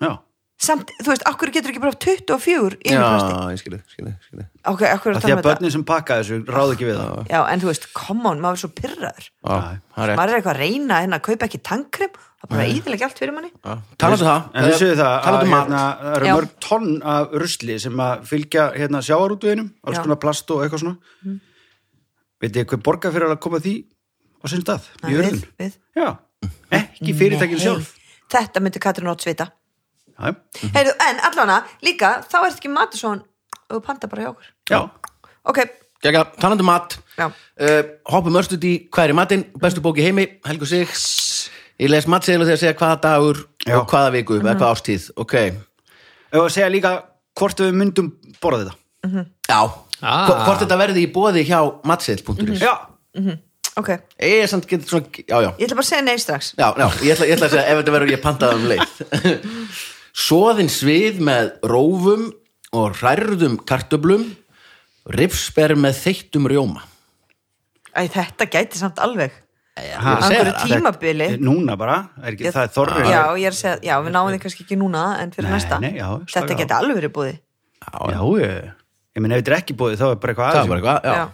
Já.
samt, þú veist, akkur getur ekki bara haft 24 í einu plasti
Já, ég skilði, skilði, skilði
ok, akkur er
Af því
að tala
að
um þetta
börnin sem pakka þessu ráð ekki við það.
já, en þú veist, come on, maður er svo pyrraður
Já, það er
maður er eitthvað að reyna hérna að kaupa ekki tankrim það er bara íðilega allt fyrir manni
Talaðu um það
En þið séu það að
Talaðu mat
hérna, það eru
Já.
mörg tonn af rusli sem að fylgja hérna, sjávarútveginum, alls
Já.
konar plast og eitthvað svona. Mm. Veitir hver borgar fyrir að koma því á sinn stað, í
Nei,
örðun?
við, við.
Já, ekki fyrirtækin
Nei,
sjálf.
þetta myndi Katrin Ótt vita
Já,
Mhm.
Heyrðu, en allavega líka, þá ert ekki matur svo hann og þú panta bara hjá okkur
já.
ok,
Gekka, talandi um mat
já,
uh, Hoppum örstuð í hvað er í matinn Bestu bóki heimi, Helgu Sigs Ég les matseðil og þegar segja hvaða dagur
Já.
og hvaða viku, eða
Mhm.
hvaða ástíð Ok,
Ef að segja líka hvort við myndum borða þetta.
já
Ah.
Hvo- Hvort þetta verði í bóði hjá
Mhm.
matseðil.is
Já,
ok ég
Ég er samt getur svona, já, já
ætla bara að segja nei strax
Já, já, ég ætla, ég ætla að segja ef þetta verður ég pantaði um leið Svoðin svið með rófum og hrærðum kartöblum ripsber með þeittum rjóma
Æ, þetta gæti samt alveg
Ég
Ha,
er að segja
einhverju
það.
tíma- Tímabili.
Núna bara, er ekki, það er þorrið.
já, ég er að segja, já, við náum þið kannski ekki núna en fyrir
Nei,
næsta,
nei, já, slaka
þetta
á.
geti alveg verið búði
Já, ég, ég meina ef þetta er ekki búið þá er bara eitthvað
Það var eitthvað, já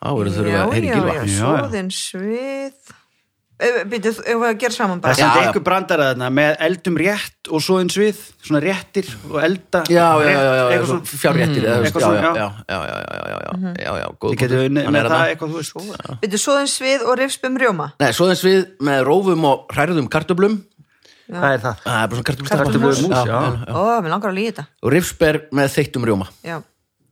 Þá verður þurfum við
já,
að heyri
já,
gilva
já,
Já, já.
svoðin svið Eh, Býtu, ef við að gera
Það
saman bara
er samt
Já, já.
einhver brandara þarna með eldum rétt og svo eins við, svona réttir og elda
Já, já, já, já, já,
eitthvað
svo
svona. Mm.
fjárréttir eða þú veist,
Eitthvað
já,
svona,
já,
já.
já, já, já, já, já, já, já, já, góð
Þið getur
punktur.
unnið
Hann er
með það
þarna.
eitthvað, þú veist.
Býtu, svoðin svið og rifspum rjóma
Nei, svoðin svið með rófum og hrærðum kartöblum
Það er það.
Það er bara svona kartöblum
Kartöflumús, já.
Ó, mér langar að líða þetta
Og ripsber með þeittum rjóma
Já.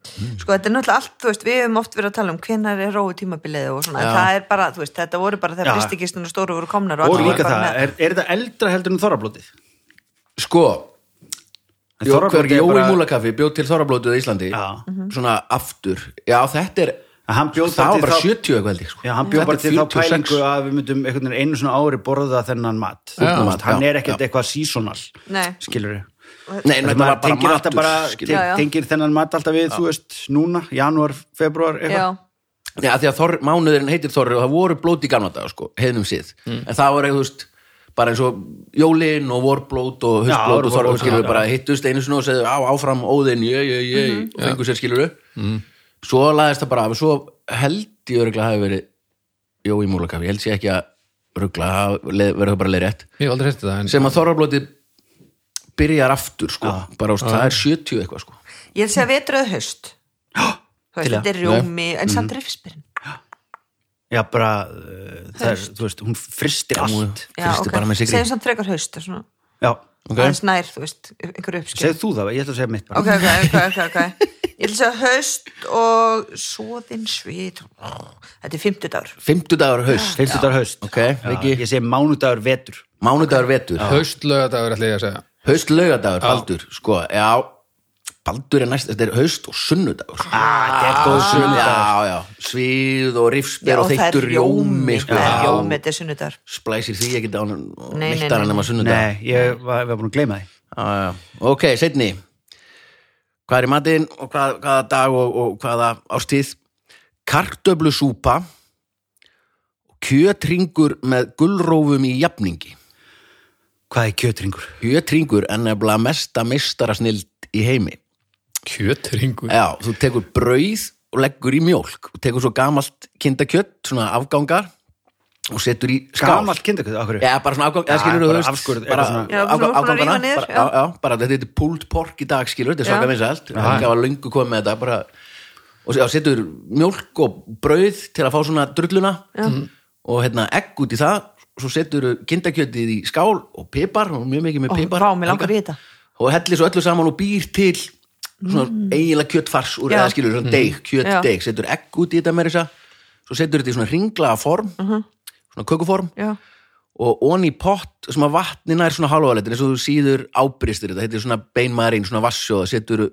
Hmm.
Sko þetta er náttúrulega allt, þú veist, við hefum oft verið að tala um hvenær er rói tímabilið og svona, en
Já.
það er bara, þú veist, þetta voru bara
Já.
þegar fristikistun og stóru voru komnar
Og
allir voru
líka
bara
það, er, er þetta eldra heldur en þorrablótið?
Sko,
En
Jó, hver, Jói
bara-
Múlakaffi bjóð til Þorrablótið í Íslandi
Já.
svona aftur já þetta er,
Að Hann bjóð
það var
til
bara
þá-
70 eitthvað held ég, sko.
Já, hann bjóð
Þetta
bara
er
til þá
46.
pælingu að við myndum einhvern veginn einu svona ári borða þennan mat.
Já.
Þú veist, Hann
Já,
er ekkert
já.
eitthvað seasonal,
Nei.
skilur við.
Nei, þetta var bara
tengir alltaf
matur
bara,
skilur.
Já, já.
tengir þennan mat alltaf við, þú veist, núna, janúar, februar,
Já,
eitthvað.
Já, af því að þor, mánuðurinn heitir Þorri og það voru blót í gamla dag sko, heiðnum síð
Mm.
en það voru eitthvað, þú veist, bara eins og jólin og vorblót og
Já,
hustblót og Þorri
vorblót,
og skilur
já, Mhm.
bara hittust einu sinni og segðu á áfram óðinn, jö, jö, jö og fengu sér skilur svo laðist það bara af og svo held ég örgulega hafi verið Jói Múlakaffi, ég held sér ekki að ruggla, verður það bara leið rétt
Ég hef aldrei hérti það en
sem að þorrablóti byrjar aftur sko, bara úst, það er 70 eitthvað sko
ég er að segja vetrað haust Þú
til
veist,
að-
þetta er rjómi, en
Mm.
samt rifspyrn
Já, bara, uh, það er, þú veist, hún fristir allt.
Já,
Fyrstu bara með sigri
segjum samt frekar haust og svona,
Já,
Ok.
aðeins nær, þú veist, einhverju uppskil
segð þú það, ég ætla að segja mitt bara.
Ok, ok, ok, ok, ok Ég ætla að segja haust og svoðin svið Þetta er fimmtudagur
Fimmtudagur haust,
Fimmtudagur haust.
ok, Viki
Ég segi mánudagur vetur.
Mánudagur vetur,
haustlögadagur ætla ég að segja
haust laugardagur Baldur, sko, já Baldur er næst, þetta er haust og sunnudagur sko.
Ah, þetta er góð sunnudagur.
Já, já, svíð og rifsber og
það er
þeittur rjómi sko,
Það er rjómi,
já,
þetta er sunnudagur
splæsir því ekki dán
Nei, nei,
neittar
nei.
hann nema sunnudag
Nei, ég var, var búin að gleyma því.
Já, já. Ok, setni Hvað er í matinn og hvað, hvaða dag og, og hvaða ástíð Kartöflusúpa Kjötringur með gulrófum í jafningi
Hvað er kjötringur?
Kjötringur er nefnilega mesta meistarasnild í heimi
Kjötringur
Já, þú tekur brauð og leggur í mjólk og tekur svo gamalt kindakjött, svona afgangar og setur í skál
Gamalt kindakjöt, okkur.
Já, bara svona afgang,
Já,
eða skilur þú
bara
veist,
afskurð,
bara
eitthvað svona.
Já, bara svona búin að rífa
afgangana,
niður,
bara,
já.
já, já, bara þetta heitir pulled pork í dag skilur, þetta er svaka
Já.
vinsælt, það var löngu komið með þetta, bara, og já, setur mjólk og brauð til að fá svona drulluna
Mhm.
og hérna egg út í það, svo setur kindakjötið í skál og pipar, og mjög mikið með
Ó,
pipar.
vá, mig langar í
líka.
þetta.
Og hellir svo öllu saman og býr til svona eiginlega kjötfars úr
Mm. Já.
eða skilur, svona deig,
Já.
kjötdeig, setur egg út í þetta meira þess að, svo setur þetta í svona ringlaða form,
Mhm.
svona kökuform
Já,
og onni í pott sem að vatnina er svona hálfa leitin eins og þú síður ábristir þetta þetta er svona beinmaðurinn, svona vassjóða setur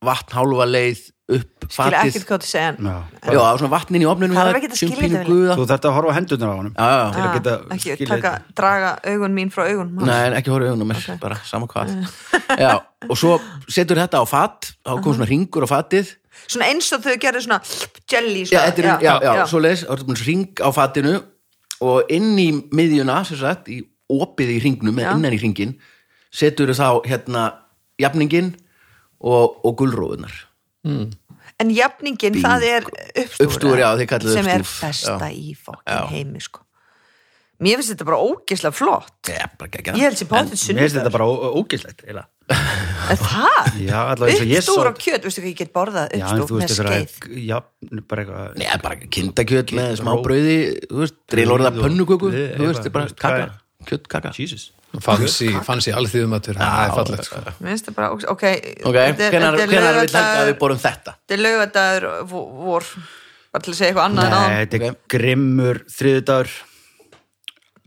vatn hálfa leið upp
ég er
fatið,
ekkert hvað þú segja en
Já.
já, svona vatnin í opninu
Það er ekki að skilja þetta vel.
guða
Þú þarft að horfa á hendurnar á honum.
já, já,
til að
Ah,
geta
ekki
skilið
taka, draga augun mín frá augun
Nei, en ekki horfa í augunum mér, bara sama hvað já, og svo setur þetta á fat þá kom
Uh-huh.
svona ringur á fatið
svona eins og þau gerir svona jelly
já,
svona.
þetta er, já, já, já. svo leis, þá er þetta búin ring á fatinu og inn í miðjuna, sem sagt, í opið í ringnum, eða
Já.
innan í ringin setur þá hérna jafningin og, og gulrófunar
En jafningin, það er uppstúra,
Uppstúfur, já, þið kallið
sem er
uppstúf,
besta
já.
í fokkin heimi sko. Mér finnst þetta bara ógislega flott
ég, bara ekki
Ég held sem pátið
Mér finnst þetta
sunnudar
bara ó- ógeðslegt eiginlega.
En það,
Já, allavega eins og ég
uppstúr
sá-
á kjöt Veistu hvað ég get borðað
Já, en
uppstúr
þú
með
veist, þetta
skeið
er já, bara eitthvað
Nei, bara kindakjöt með smá brauði, þú veist, drillorða
Brauð og-
pönnuköku,
Nei,
þú
eitthvað,
veist, þetta er bara
þú veist,
kaka,
hvað
kjöttkaka.
Jesus
fansi, fansi alþýðumatur það er fallegt sko.
Mér finnst þetta bara, ógeðslega- ok
Ok, hvenær hvenær vil hægt að við borum þetta?
Þetta er laugadagur vo- vor Bara til að segja eitthvað annað en
Nei,
áðan.
þetta er grimmur þriðudagur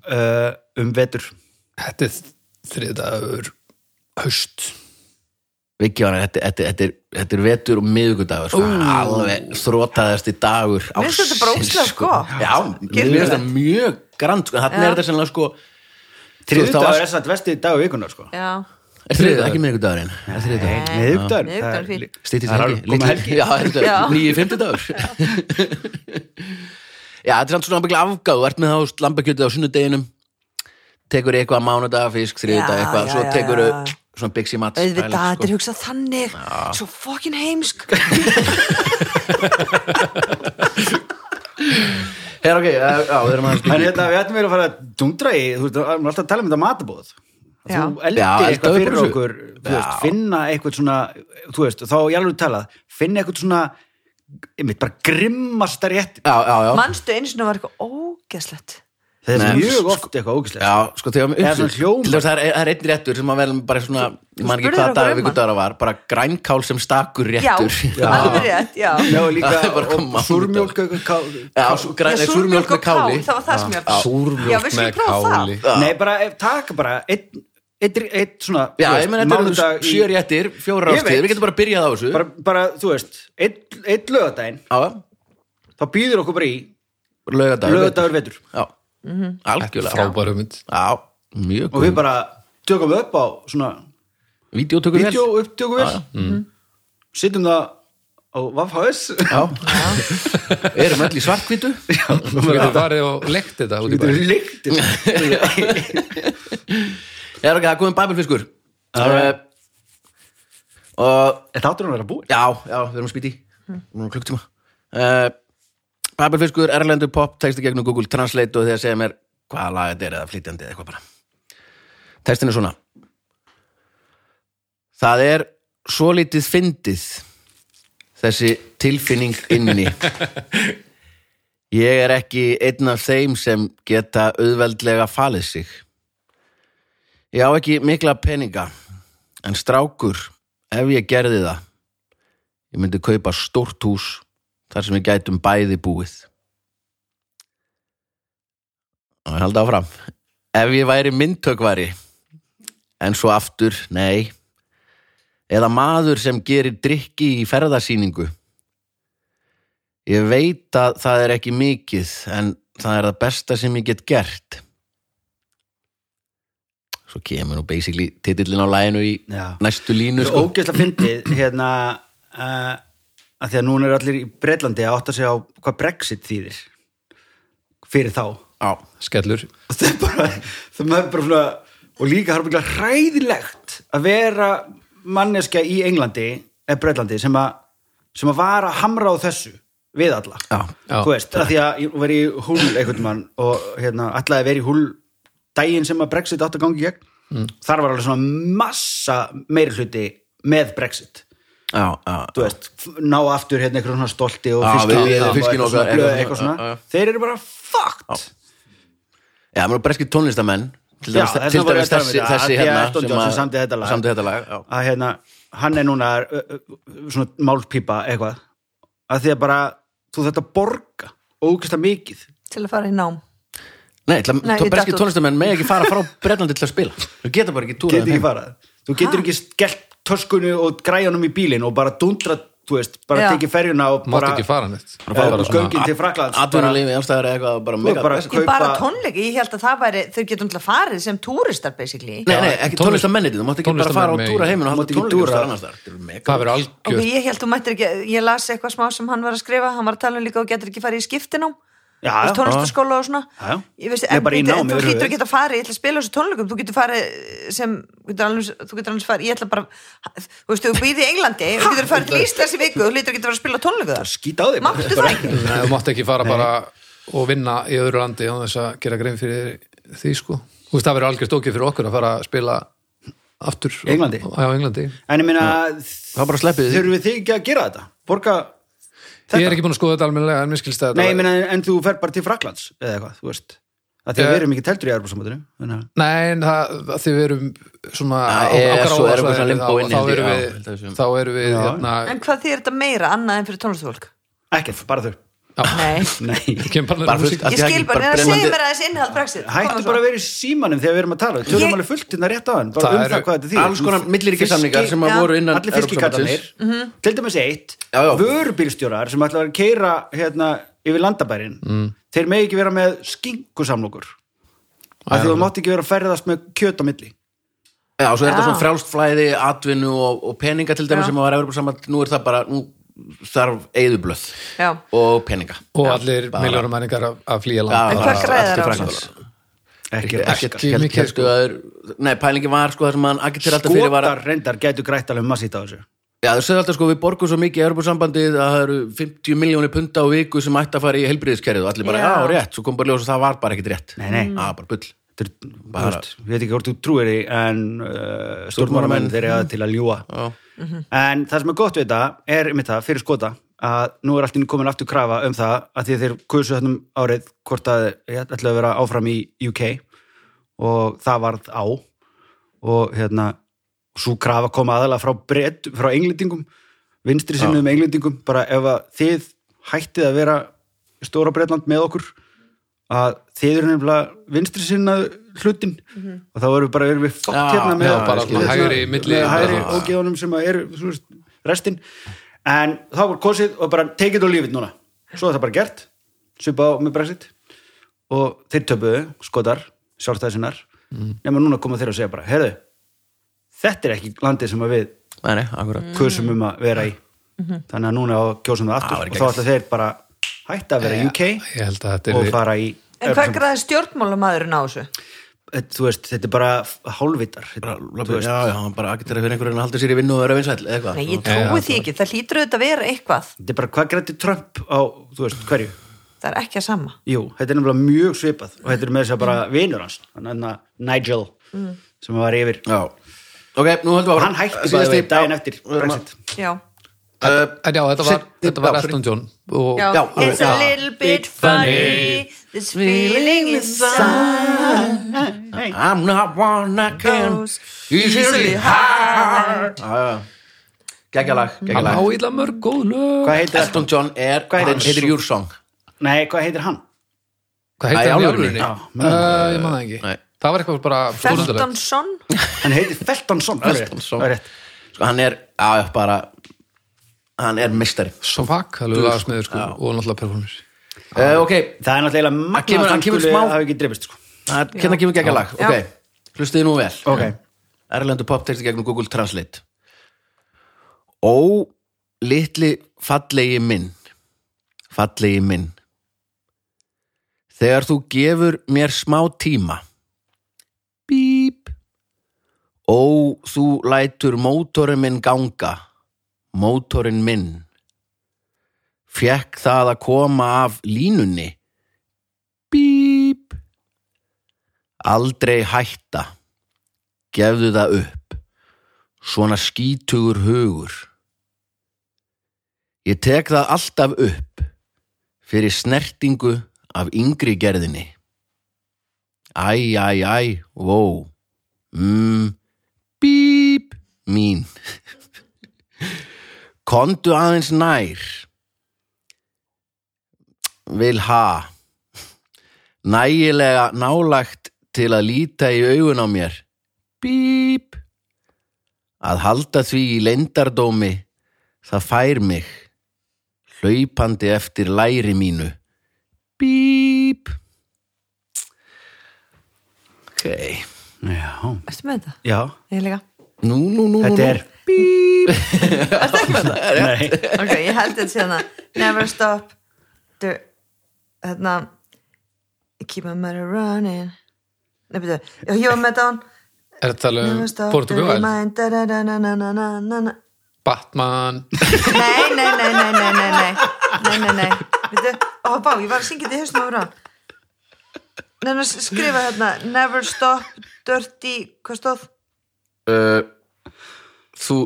uh, um vetur
þetta er þriðdagur haust
Viki var að þetta, þetta, þetta, er- þetta er vetur og miðugudagur, sko, alveg þrótaðasti dagur sko.
Mér finnst þetta bara ógeðslega gott.
Já, mér
Gerðu
finnst þetta mjög grand, sko, þannig er þetta sennilega, sko, Þú veist, það
Þriðudagur
var-
er satt vestið dagur vikunar sko
Já,
er þriðdagur, ekki miðugudagurinn, er þriðdagur.
Miðugdagur
Miðvikudagur er fín.
Stýttis
Það er
helgi,
alveg komið
litli-
helgi.
Já, þetta
Já.
er nýju fimmtudagur Já, þetta er samt svona byggla afgáð Þú ert með þá lambakjötið á sunnudeginum Tekur eitthvað mánudag, fisk, þriðudag
Já,
eitthvað,
já,
svo
já,
tekur
já.
svona byggsi mat
auðvitað, þetta
sko.
er hugsað þannig Svo fokkin heimsk
Her, ok, já, já, við erum aðeins
En hérna, við ættum verið að fara að dundra í þú veist, við erum alltaf að tala um þetta matabóð
Já.
Þú
Já,
eldir eitthvað
eldaðu
fyrir
bara svo.
okkur þú veist,
Já.
finna eitthvað svona þú veist, þá ég alveg talað finna eitthvað svona einmitt, bara grimmasta rétt
Já, já, já,
Manstu eins og var eitthvað ógeðslegt
það er
Nei, sko-
mjög oft eitthvað ógæslega
já, sko, þegar við
Eða svona hljómar.
Til þess að það er- það er einn réttur sem að verðum bara svona Ég man ekki
spurðir
hvaða
okkur
dag
um hann.
vikudagur var Bara grænkál sem stakur
Já,
réttur
alveg rétt, já
Já, og
Það er bara
líka
komið á
súrmjólk eitthvað ká-
Já, svo græn- nei, súrmjólk með
kál,
káli
það var það sem ég var Já, við
súrmjólk
skulum
með
prófa það.
káli
Nei, bara ef- taka bara eitt, eitt, eitt svona þú
Já, ég
veist,
meina þetta
mánudag
eru sjö réttir, fjóra
Ég
ástíð,
veit.
við getum bara byrjað á þessu
bara, bara, þú veist, eitt, eitt lögadaginn
Já,
þá býður okkur bara í
lögadagur
lögadagur vetur
Já,
Mhm.
algjörlega
frábær hugmynd
Já, mjög
og við
góð
bara tökum upp á svona
Vídeótökur
vídeo upptökum við Mhm. sittum það á Vafhás
Já, erum öll í svartkvítu
þú getur farið og lekt þetta út í bæ
líktir
Já, ok, það er komið bæbelfiskur uh, Og
Þetta áttur hann að vera búin
já, já, við erum að spýti Nú erum klukktíma uh, Bæbelfiskur, erlendur pop, texti gegnum Google Translate og þegar segja mér hvaða lag þetta er eða flytjandi eða eitthvað bara Textin er svona Það er svolítið fyndið þessi tilfinning inni Ég er ekki einn af þeim sem geta auðveldlega falið sig Ég á ekki mikla peninga en strákur ef ég gerði það Ég myndi kaupa stórt hús þar sem við gætum bæði búið og ég held áfram Ef ég væri myndtökvari en svo aftur, nei eða maður sem gerir drikki í ferðasýningu Ég veit að það er ekki mikið en það er það besta sem ég get gert Svo kemur nú basically titillin á læginu í
Já.
næstu línu
Þetta er
sko.
ógeðslega fyndið hérna uh, að því að núna er allir í Breitlandi að átta sig á hvað Brexit þýðir fyrir þá og
Já,
skellur
það er bara, það er bara svona, og líka það er bara hræðilegt að vera manneskja í Englandi eða Breitlandi sem að sem að var að hamra á þessu við alla
já,
Já.
þú veist, að því að ég var í húl einhvern mann og hérna, ætlaði að vera í húl daginn sem að Brexit átt að gangi í gegn
Mm.
þar var alveg svona massa meiri hluti með Brexit
já, já
þú veist, f- ná aftur hérna eitthvað svona stolti og
Já,
fiskinn í
við-
þeim og
fiskinn
eitthvað svona,
okkar,
blöð,
eitthvað
eitthvað
svona,
svona.
já, já.
þeir eru bara fucked
Já, maður breskir tónlistamenn til
Já,
dæmis,
þess
til
vegna var ég að
dæmis
tala um
þessi,
þetta,
þessi
að því að
hérna
Elton John sem samdi þetta lag.
samdi þetta lag já.
að hérna, hann er núna ö, ö, ö, svona málpípa eitthvað að því að bara, þú þetta borga ógeðslega mikið
Til að fara í nám
Nei, til að-
Nei,
tó-
ég
breskir
datt út.
tónlistamenn með ekki fara frá Breitlandi til að spila Þú getur bara ekki túrað
getur ekki farað þú getur ekki skellt töskunni og græjunum í bílinn og bara dundra þú veist, bara
Já.
tekið ferjuna og
mátt
bara
ekki fara neitt
bara
Bara svona-
göngin til Fraklands bara-
Atvinnulífi, ástæður eða eitthvað bara
Þú
mega
bara-
breskir
Ég bara
Kaupa-
tónleiki, ég held að það væri Þau getum til að farið sem túristar basically
Nei, nei, ekki
tónlist-
tónlistamennið Þú mátt ekki bara fara og
tónlistamenn
túra
megi-
heiminn og
Þú
halda
mátt ekki
tónleika
túra.
staðar annars staðar. Þetta er mega-
það verður
Ok,
algjör
ég held þú mættir ekki Ég las eitthvað smá sem hann var að skrifa Hann var að tala um líka og getur ekki farið í skiptinám
Já,
þú veist,
já.
tónlistaskóla og svona
Já, já.
ég veist,
Ég er
en,
bara í
bíddu,
námi
en þú
yfir
hlýtur
höfuð.
ekki að fara ég ætla að spila á þessu tónleikum, þú getur farið sem, þú getur alveg, þú getur alveg farið ég ætla bara, þú veist, þú býð í Englandi þú getur farið til Íslands í viku, þú hlýtur ekki að fara að spila á tónleikum þar,
skýt á þig bara.
máttu það ekki
Nei, þú mátt ekki fara bara og vinna í öðru landi án þess að gera grein fyrir því sko. Þú veist, það verður algjörst ókið fyrir okkur að fara að spila aftur.
Í Englandi?
Já, í Englandi.
En ég meina,
Það bara sleppið því.
þurfum við þig ekki að gera þetta? Borga þetta?
Ég er ekki búin að skoða þetta almennilega en mér skilst að
Nei, ég
þetta...
meina, en þú fer bara til Fraklands eða eitthvað, þú veist. Af því að
Eh.
við erum ekki teltur í Evropasamöndinu. Þannig að
Nei, en það, það- því við erum svona
Ja, EES
á- á
og er eitthvað
gráa
svona
svæði,
limbó
þá-
inni,
þá
held ég,
erum
já,
við-
held að þessum.
þá erum við
Já.
hérna,
en hvað þýr þetta meira annað en fyrir tónlistafólk?
ekkert, bara þau.
Nei,
Nei.
kemur bara
Bara
bara
fullt
músík
af-
ég skil bara,
Bara
neða, segja
brennandi-
mér aðeins innhald Brexit
Hættu bara að vera í símanum þegar við erum að tala. Við tölum
Ég-
alveg fullt hérna rétt á hann, bara
Það
um
eru
það hvað þetta þýðir.
alls konar milliríkjasamningar
Fiski-
sem að
Já.
voru innan
allir fiskikallanir
Evrópusambandsins.
til dæmis eitt
Já, já.
vörubílstjórar sem ætla að keira hérna, yfir landabærin
Mm.
þeir megi ekki vera með skinkusamlokur af því þú mátt ekki vera að ferðast með kjöt á milli
Já, svo er þetta
Já.
svona frjálst flæði, atvinnu og, og peninga til dæmis
Já.
sem að var Evrópusamband, nú er það bara, nú þarf eigðublöð
Já.
og peninga.
og allir miljónum mæningar að, að flýja
Já,
land.
En
það
hvað
er
græðir
allt í
á
Frakklands.
ekki
Ekkert,
raskar
Ekki
held-
mikið,
héldu
sko.
að þeir- Nei, pælingi var sko það sem hann agitera alltaf fyrir var að
skotar reyndar gætu grætt alveg massít á þessu
Já, þau segðu alltaf sko, við borgum svo mikið í Europasambandið að það eru 50 miljónir punta á viku sem ætti að fara í helbriðiskerfið og allir bara,
Já.
já, rétt, svo kom bara ljós og það var bara ekkit rétt.
Nei, nei.
Það var bara bull.
Þetta er- þú
Bara-
veist, ég veit ekki hvort þú trúir því en uh, stjórnmálamenn þeir eru til að ljúa en það sem er gott við þetta er með það fyrir skota að nú er allir komin aftur krafa um það að því að þeir kursu þannum árið hvort að ég ætla að vera áfram í UK og það varð á og hérna svo krafa kom aðalega frá brett frá englendingum, vinstri sinnum englendingum bara ef að þið hættið að vera í stóra brettland með okkur að þið eru nefnilega vinstri sinna hlutin og þá erum við bara erum við fokkt
Já,
hérna með
já,
bara
skilur,
svona
hérna,
hægri, milli-
með hægri
Já.
ógeðunum sem að eru þú veist, restin en þá var kosið og bara take it or leave it núna svo er það bara gert, svipa á með Brexit og þeir töpuðu skotar, sjálfstæðisinnar nema núna koma þeir að segja bara, herðu þetta er ekki landið sem að við
Nei, nei, akkurat.
kusum um að vera í þannig að núna á kjósum við aftur
væri
og þá ætla þeir bara hætta að vera í UK
Ég held að þetta
og
er
fara í
en hvað græði stjórnmálamadurinn á þessu?
Þetta- þú veist, þetta er bara hálfvitar
Bara,
Þetta-
labbi, já, já, hann bara agitera fyrir einhverjum að halda sér í vinnu og vera vinsæll, eða hvað.
Nei, ég
Já,
trúi
það
því ekki, það hlýtur auðvitað að vera eitthvað
þetta er bara hvað grætti Trump á, þú veist, hverju
það er ekki að sama
Jú, þetta er nefnilega mjög svipað og þetta er með þess að bara
Mm.
vinur hans hann er Nigel sem var yfir
Já. Ok, nú höldum við áfram.
hann hætti
Síðasti-
bara við daginn
Já,
eftir
við erum að-
Brexit.
já,
Uh,
En já, þetta var,
Sitt-
þetta var
já,
Elton John og
já,
Já,
it's
já.
a little bit funny this feeling inside
I'm not one I can
Goes
easily
easily
hide. Gægjalag,
hann á
gægjalag.
illa mörg góð lög.
hvað heitir,
Elton John er,
Hvað heitir
hann
hann?
heitir Your Song.
nei, hvað heitir hann?
Hvað
Æ,
heitir hann í
alvörunni?
alvörunni?
Já,
Uh, Ég man
Nei.
það ekki. Það var eitthvað bara stórundalegt.
Feltonsson
hann heitir Feltonsson það er rétt,
Feltonsson.
það er rétt.
Sko, hann er, já, já, bara, hann er mistari.
Svakalega lagasmiður sko og náttúrulega performance.
Uh, ok,
Það er náttúrulega
kemur-
magna
hann kemur smá-
hafi ekki drifist sko.
það er- hérna kemur gegn lag.
Já.
Ok, hlustiði nú vel.
Ok.
Erlendu poptexti gegnum Google Translate. Ó, litli fallegi minn, fallegi minn. Þegar þú gefur mér smá tíma. Bíp. Ó, þú lætur mótorin minn ganga, mótorin minn. Fjekk það að koma af línunni. Bíp. Aldrei hætta. Gefðu það upp. Svona skítugur hugur. Ég tek það alltaf upp fyrir snertingu af yngri gerðinni. Æ, æ, æ, vó. Mm, bíp, mín. Kondu aðeins nær. Vil ha. Nægilega nálagt til að líta í augun á mér. Bíp. Að halda því í leyndardómi, það fær mig. Hlaupandi eftir læri mínu. Bíp. Ok.
Já.
ertu með þetta?
Já.
ég líka
Nú, nú, nú, nú.
Þetta
nú.
er-
Bíp.
ertu ekki með þetta? hérna.
Nei.
ok, ég held þetta síðan að never stop the hérna Keep a matter running Nei, byrju, já, ég var með þetta á hann
Er þetta talið um Portugal?
Portugal
Batman
Nei, nei, nei, nei, nei, nei, nei, nei, nei, nei, veitu, ó, bá, ég var að syngja þetta í hausnum á rán. Nei, nei, skrifa hérna, never stop, dirty, hvað stóð?
þú,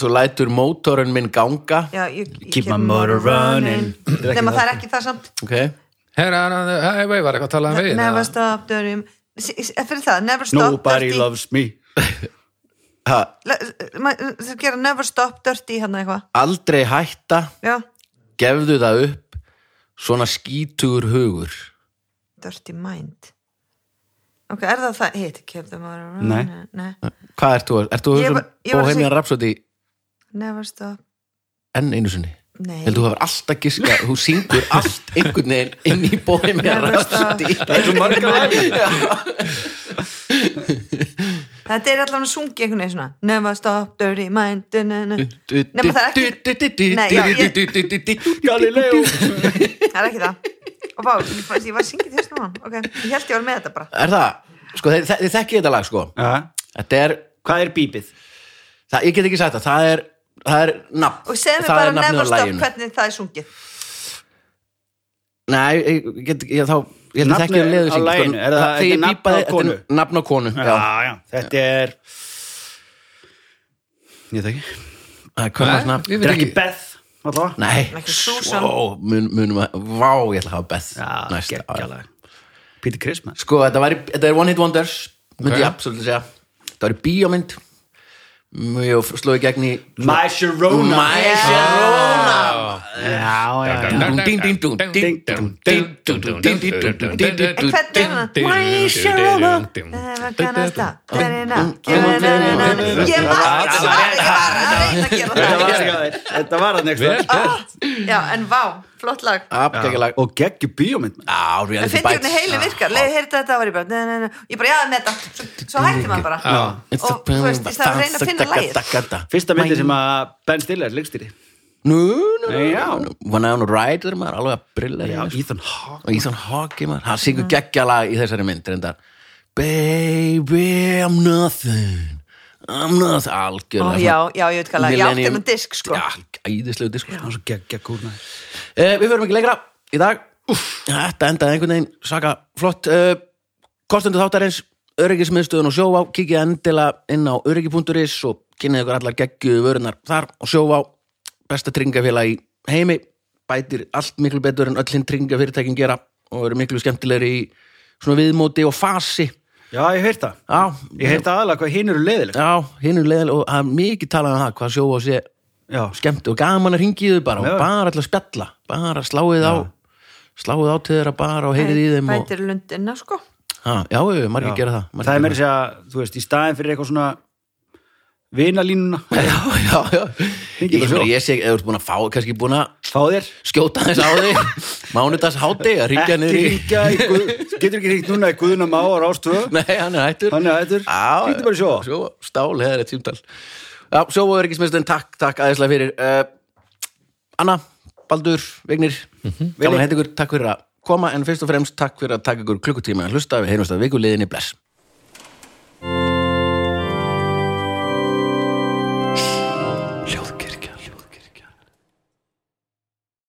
þú lætur mótorinn minn ganga
Já, ég, ég
Keep my motor running.
Nei, maður það er ekki það samt.
ok,
Herra, herra, herra, var eitthvað að tala um veginn
Never
eða?
stop, dirty, S- s- eh, fyrir það, never stop,
Nobody
dirty. eh,
loves me
ha,
Það gera never stop, dirty, hérna eitthvað,
aldrei hætta
já,
gefðu það upp svona skítugur hugur
dirty mind. Ok, er það það, hitt, keep the motor
Nei.
running, nei,
hvað ert þú að, ert þú að
Ég
hugsa
var- ég var
um
að
Bohemian Rhapsody
never stop,
enn einu sinni
nei.
heldur þú hefur alltaf giska, þú syngur allt einhvern veginn inn í Bohemian
Never stop.
Rhapsody
Það er svo marga lagi
Þetta er allavega að sungja einhvern veginn svona Never stop, dirty mind du, nu, nu. Nei, maður það er ekki, Nei, já, ég-
Galileo
það er ekki það Og bá, ég fannst- ég var að syngja því snúan Ok, ég held ég var með þetta bara
Er það? Sko, þið, þið þekkið þetta lag, sko
Ja.
Þetta er,
Hvað er bíbið?
það, ég get ekki sagt það Það er, það er nafn
Og segðu mér
Það
bara
er nafnið á
never stop
laginu.
hvernig það er sungið
Nei, ég ég get, ég þá Ég held að
Nafnið
þekki að leðu
á laginu, er það- þetta er nafn á konu?
Nafn á konu, já
Já, já, þetta er Ég þekki
Það er konars
Nei,
nafn
ég
Þetta er
veit
ekki
ekki.
Beth, allavega
Nei,
Ekki Susan.
svo, mun, munum að Vá, ég ætla að hafa Beth
Já,
næsta ár.
geggjala Peter Christmas
Sko, þetta, væri, þetta er One Hit Wonders myndi
Ok.
ég absolutt segja Þetta var í bíómynd mjög slóið gegn í
My Sharona
My
Já.
Já, já, já
En hvernig er það? Why should I Never gonna stop dirty now, give it a- na- na- na- Ég var að
Þetta
svara, ég var að reyna að
Þetta
gera
var
það
eitthvað, Þetta var hann
Vel
eitthvað
gert
Já, en vá, flott lag
Aptekilag
Og geggju bíómynd maður.
Já,
En
reality
finnst ég hvernig
Ah, bites Ah.
heili virkar, leiði heyrði þetta var ég bara na- na- na- Ég bara, já, með þetta, Svo- svo hætti maður bara
It's
Og
the-
þú veist, í stað að reyna að finna lagið
Fyrsta myndi sem að Ben Stiller leikstýri
Nú, nú, nú,
Já.
nú When I on a ride er maður alveg að brilla í
Já,
þessu.
Ethan Hawke
Og Ethan Hawke maður, hann
Mm.
syngur geggjala í þessari mynd reyndar Baby, I'm nothing I'm nothing,
Ó,
algjörlega
já, já, ég veit hvað lag, ég átti
Millennium-
hennan disk sko
Já, æðislegu disk sko.
Hann er svo geggja kúrna
Eh, Við förum ekki lengra í dag Þetta endaði einhvern veginn Saka flott uh, Kostendur þáttarins, öryggismiðstöðun og sjóvá Kikið endilega inn á öryggi.is og kynnið ykkur allar geggju vörunar þar og sjóvá, besta tryggingafélag í heimi, bætir allt miklu betur en öll hinn tryggingafyrirtækin gera og eru miklu skemmtilegri í svona viðmóti og fasi
Já, ég heyrt það
Já,
Ég heyrt það aðalega hvað hinn eru leiðileg
já hinn er leðal og það er mikið talað um það hvað sjóvá sé
Já,
skemmt og gaman að ringi þau bara og
Já.
bara alltaf spjalla, bara sláið á sláið á til þeirra bara og heyrið í þeim og,
Bætir lundina sko
ha, já, já, margir
Já.
gera það margir
það er meira
gera
að segja, þú veist, í staðin fyrir eitthvað svona vinalínuna
það. já, já, já,
Hringið
ég,
bara
meina,
svo.
ég sé, ef þú ert búin að fá kannski búin að
fá þér
skjóta þess á þig mánudags háti að ringja
ekki
niður í
ringja í guð, getur ekki ringt núna í guðuna má og rástöðu
nei, hann er hættur
Hann er hættur.
Já,
Hringdu bara í Sjóvá.
Sjóvá, stál, heðar eitt símtal já, sjóvá er ekki smestin, takk, takk aðeinslega fyrir uh, Anna, Baldur, Vignir gaman að heita ykkur, takk fyrir að koma en fyrst og fremst takk fyrir að taka ykkur klukkutíma að hlusta, við heyrumst að vikuliðinni bless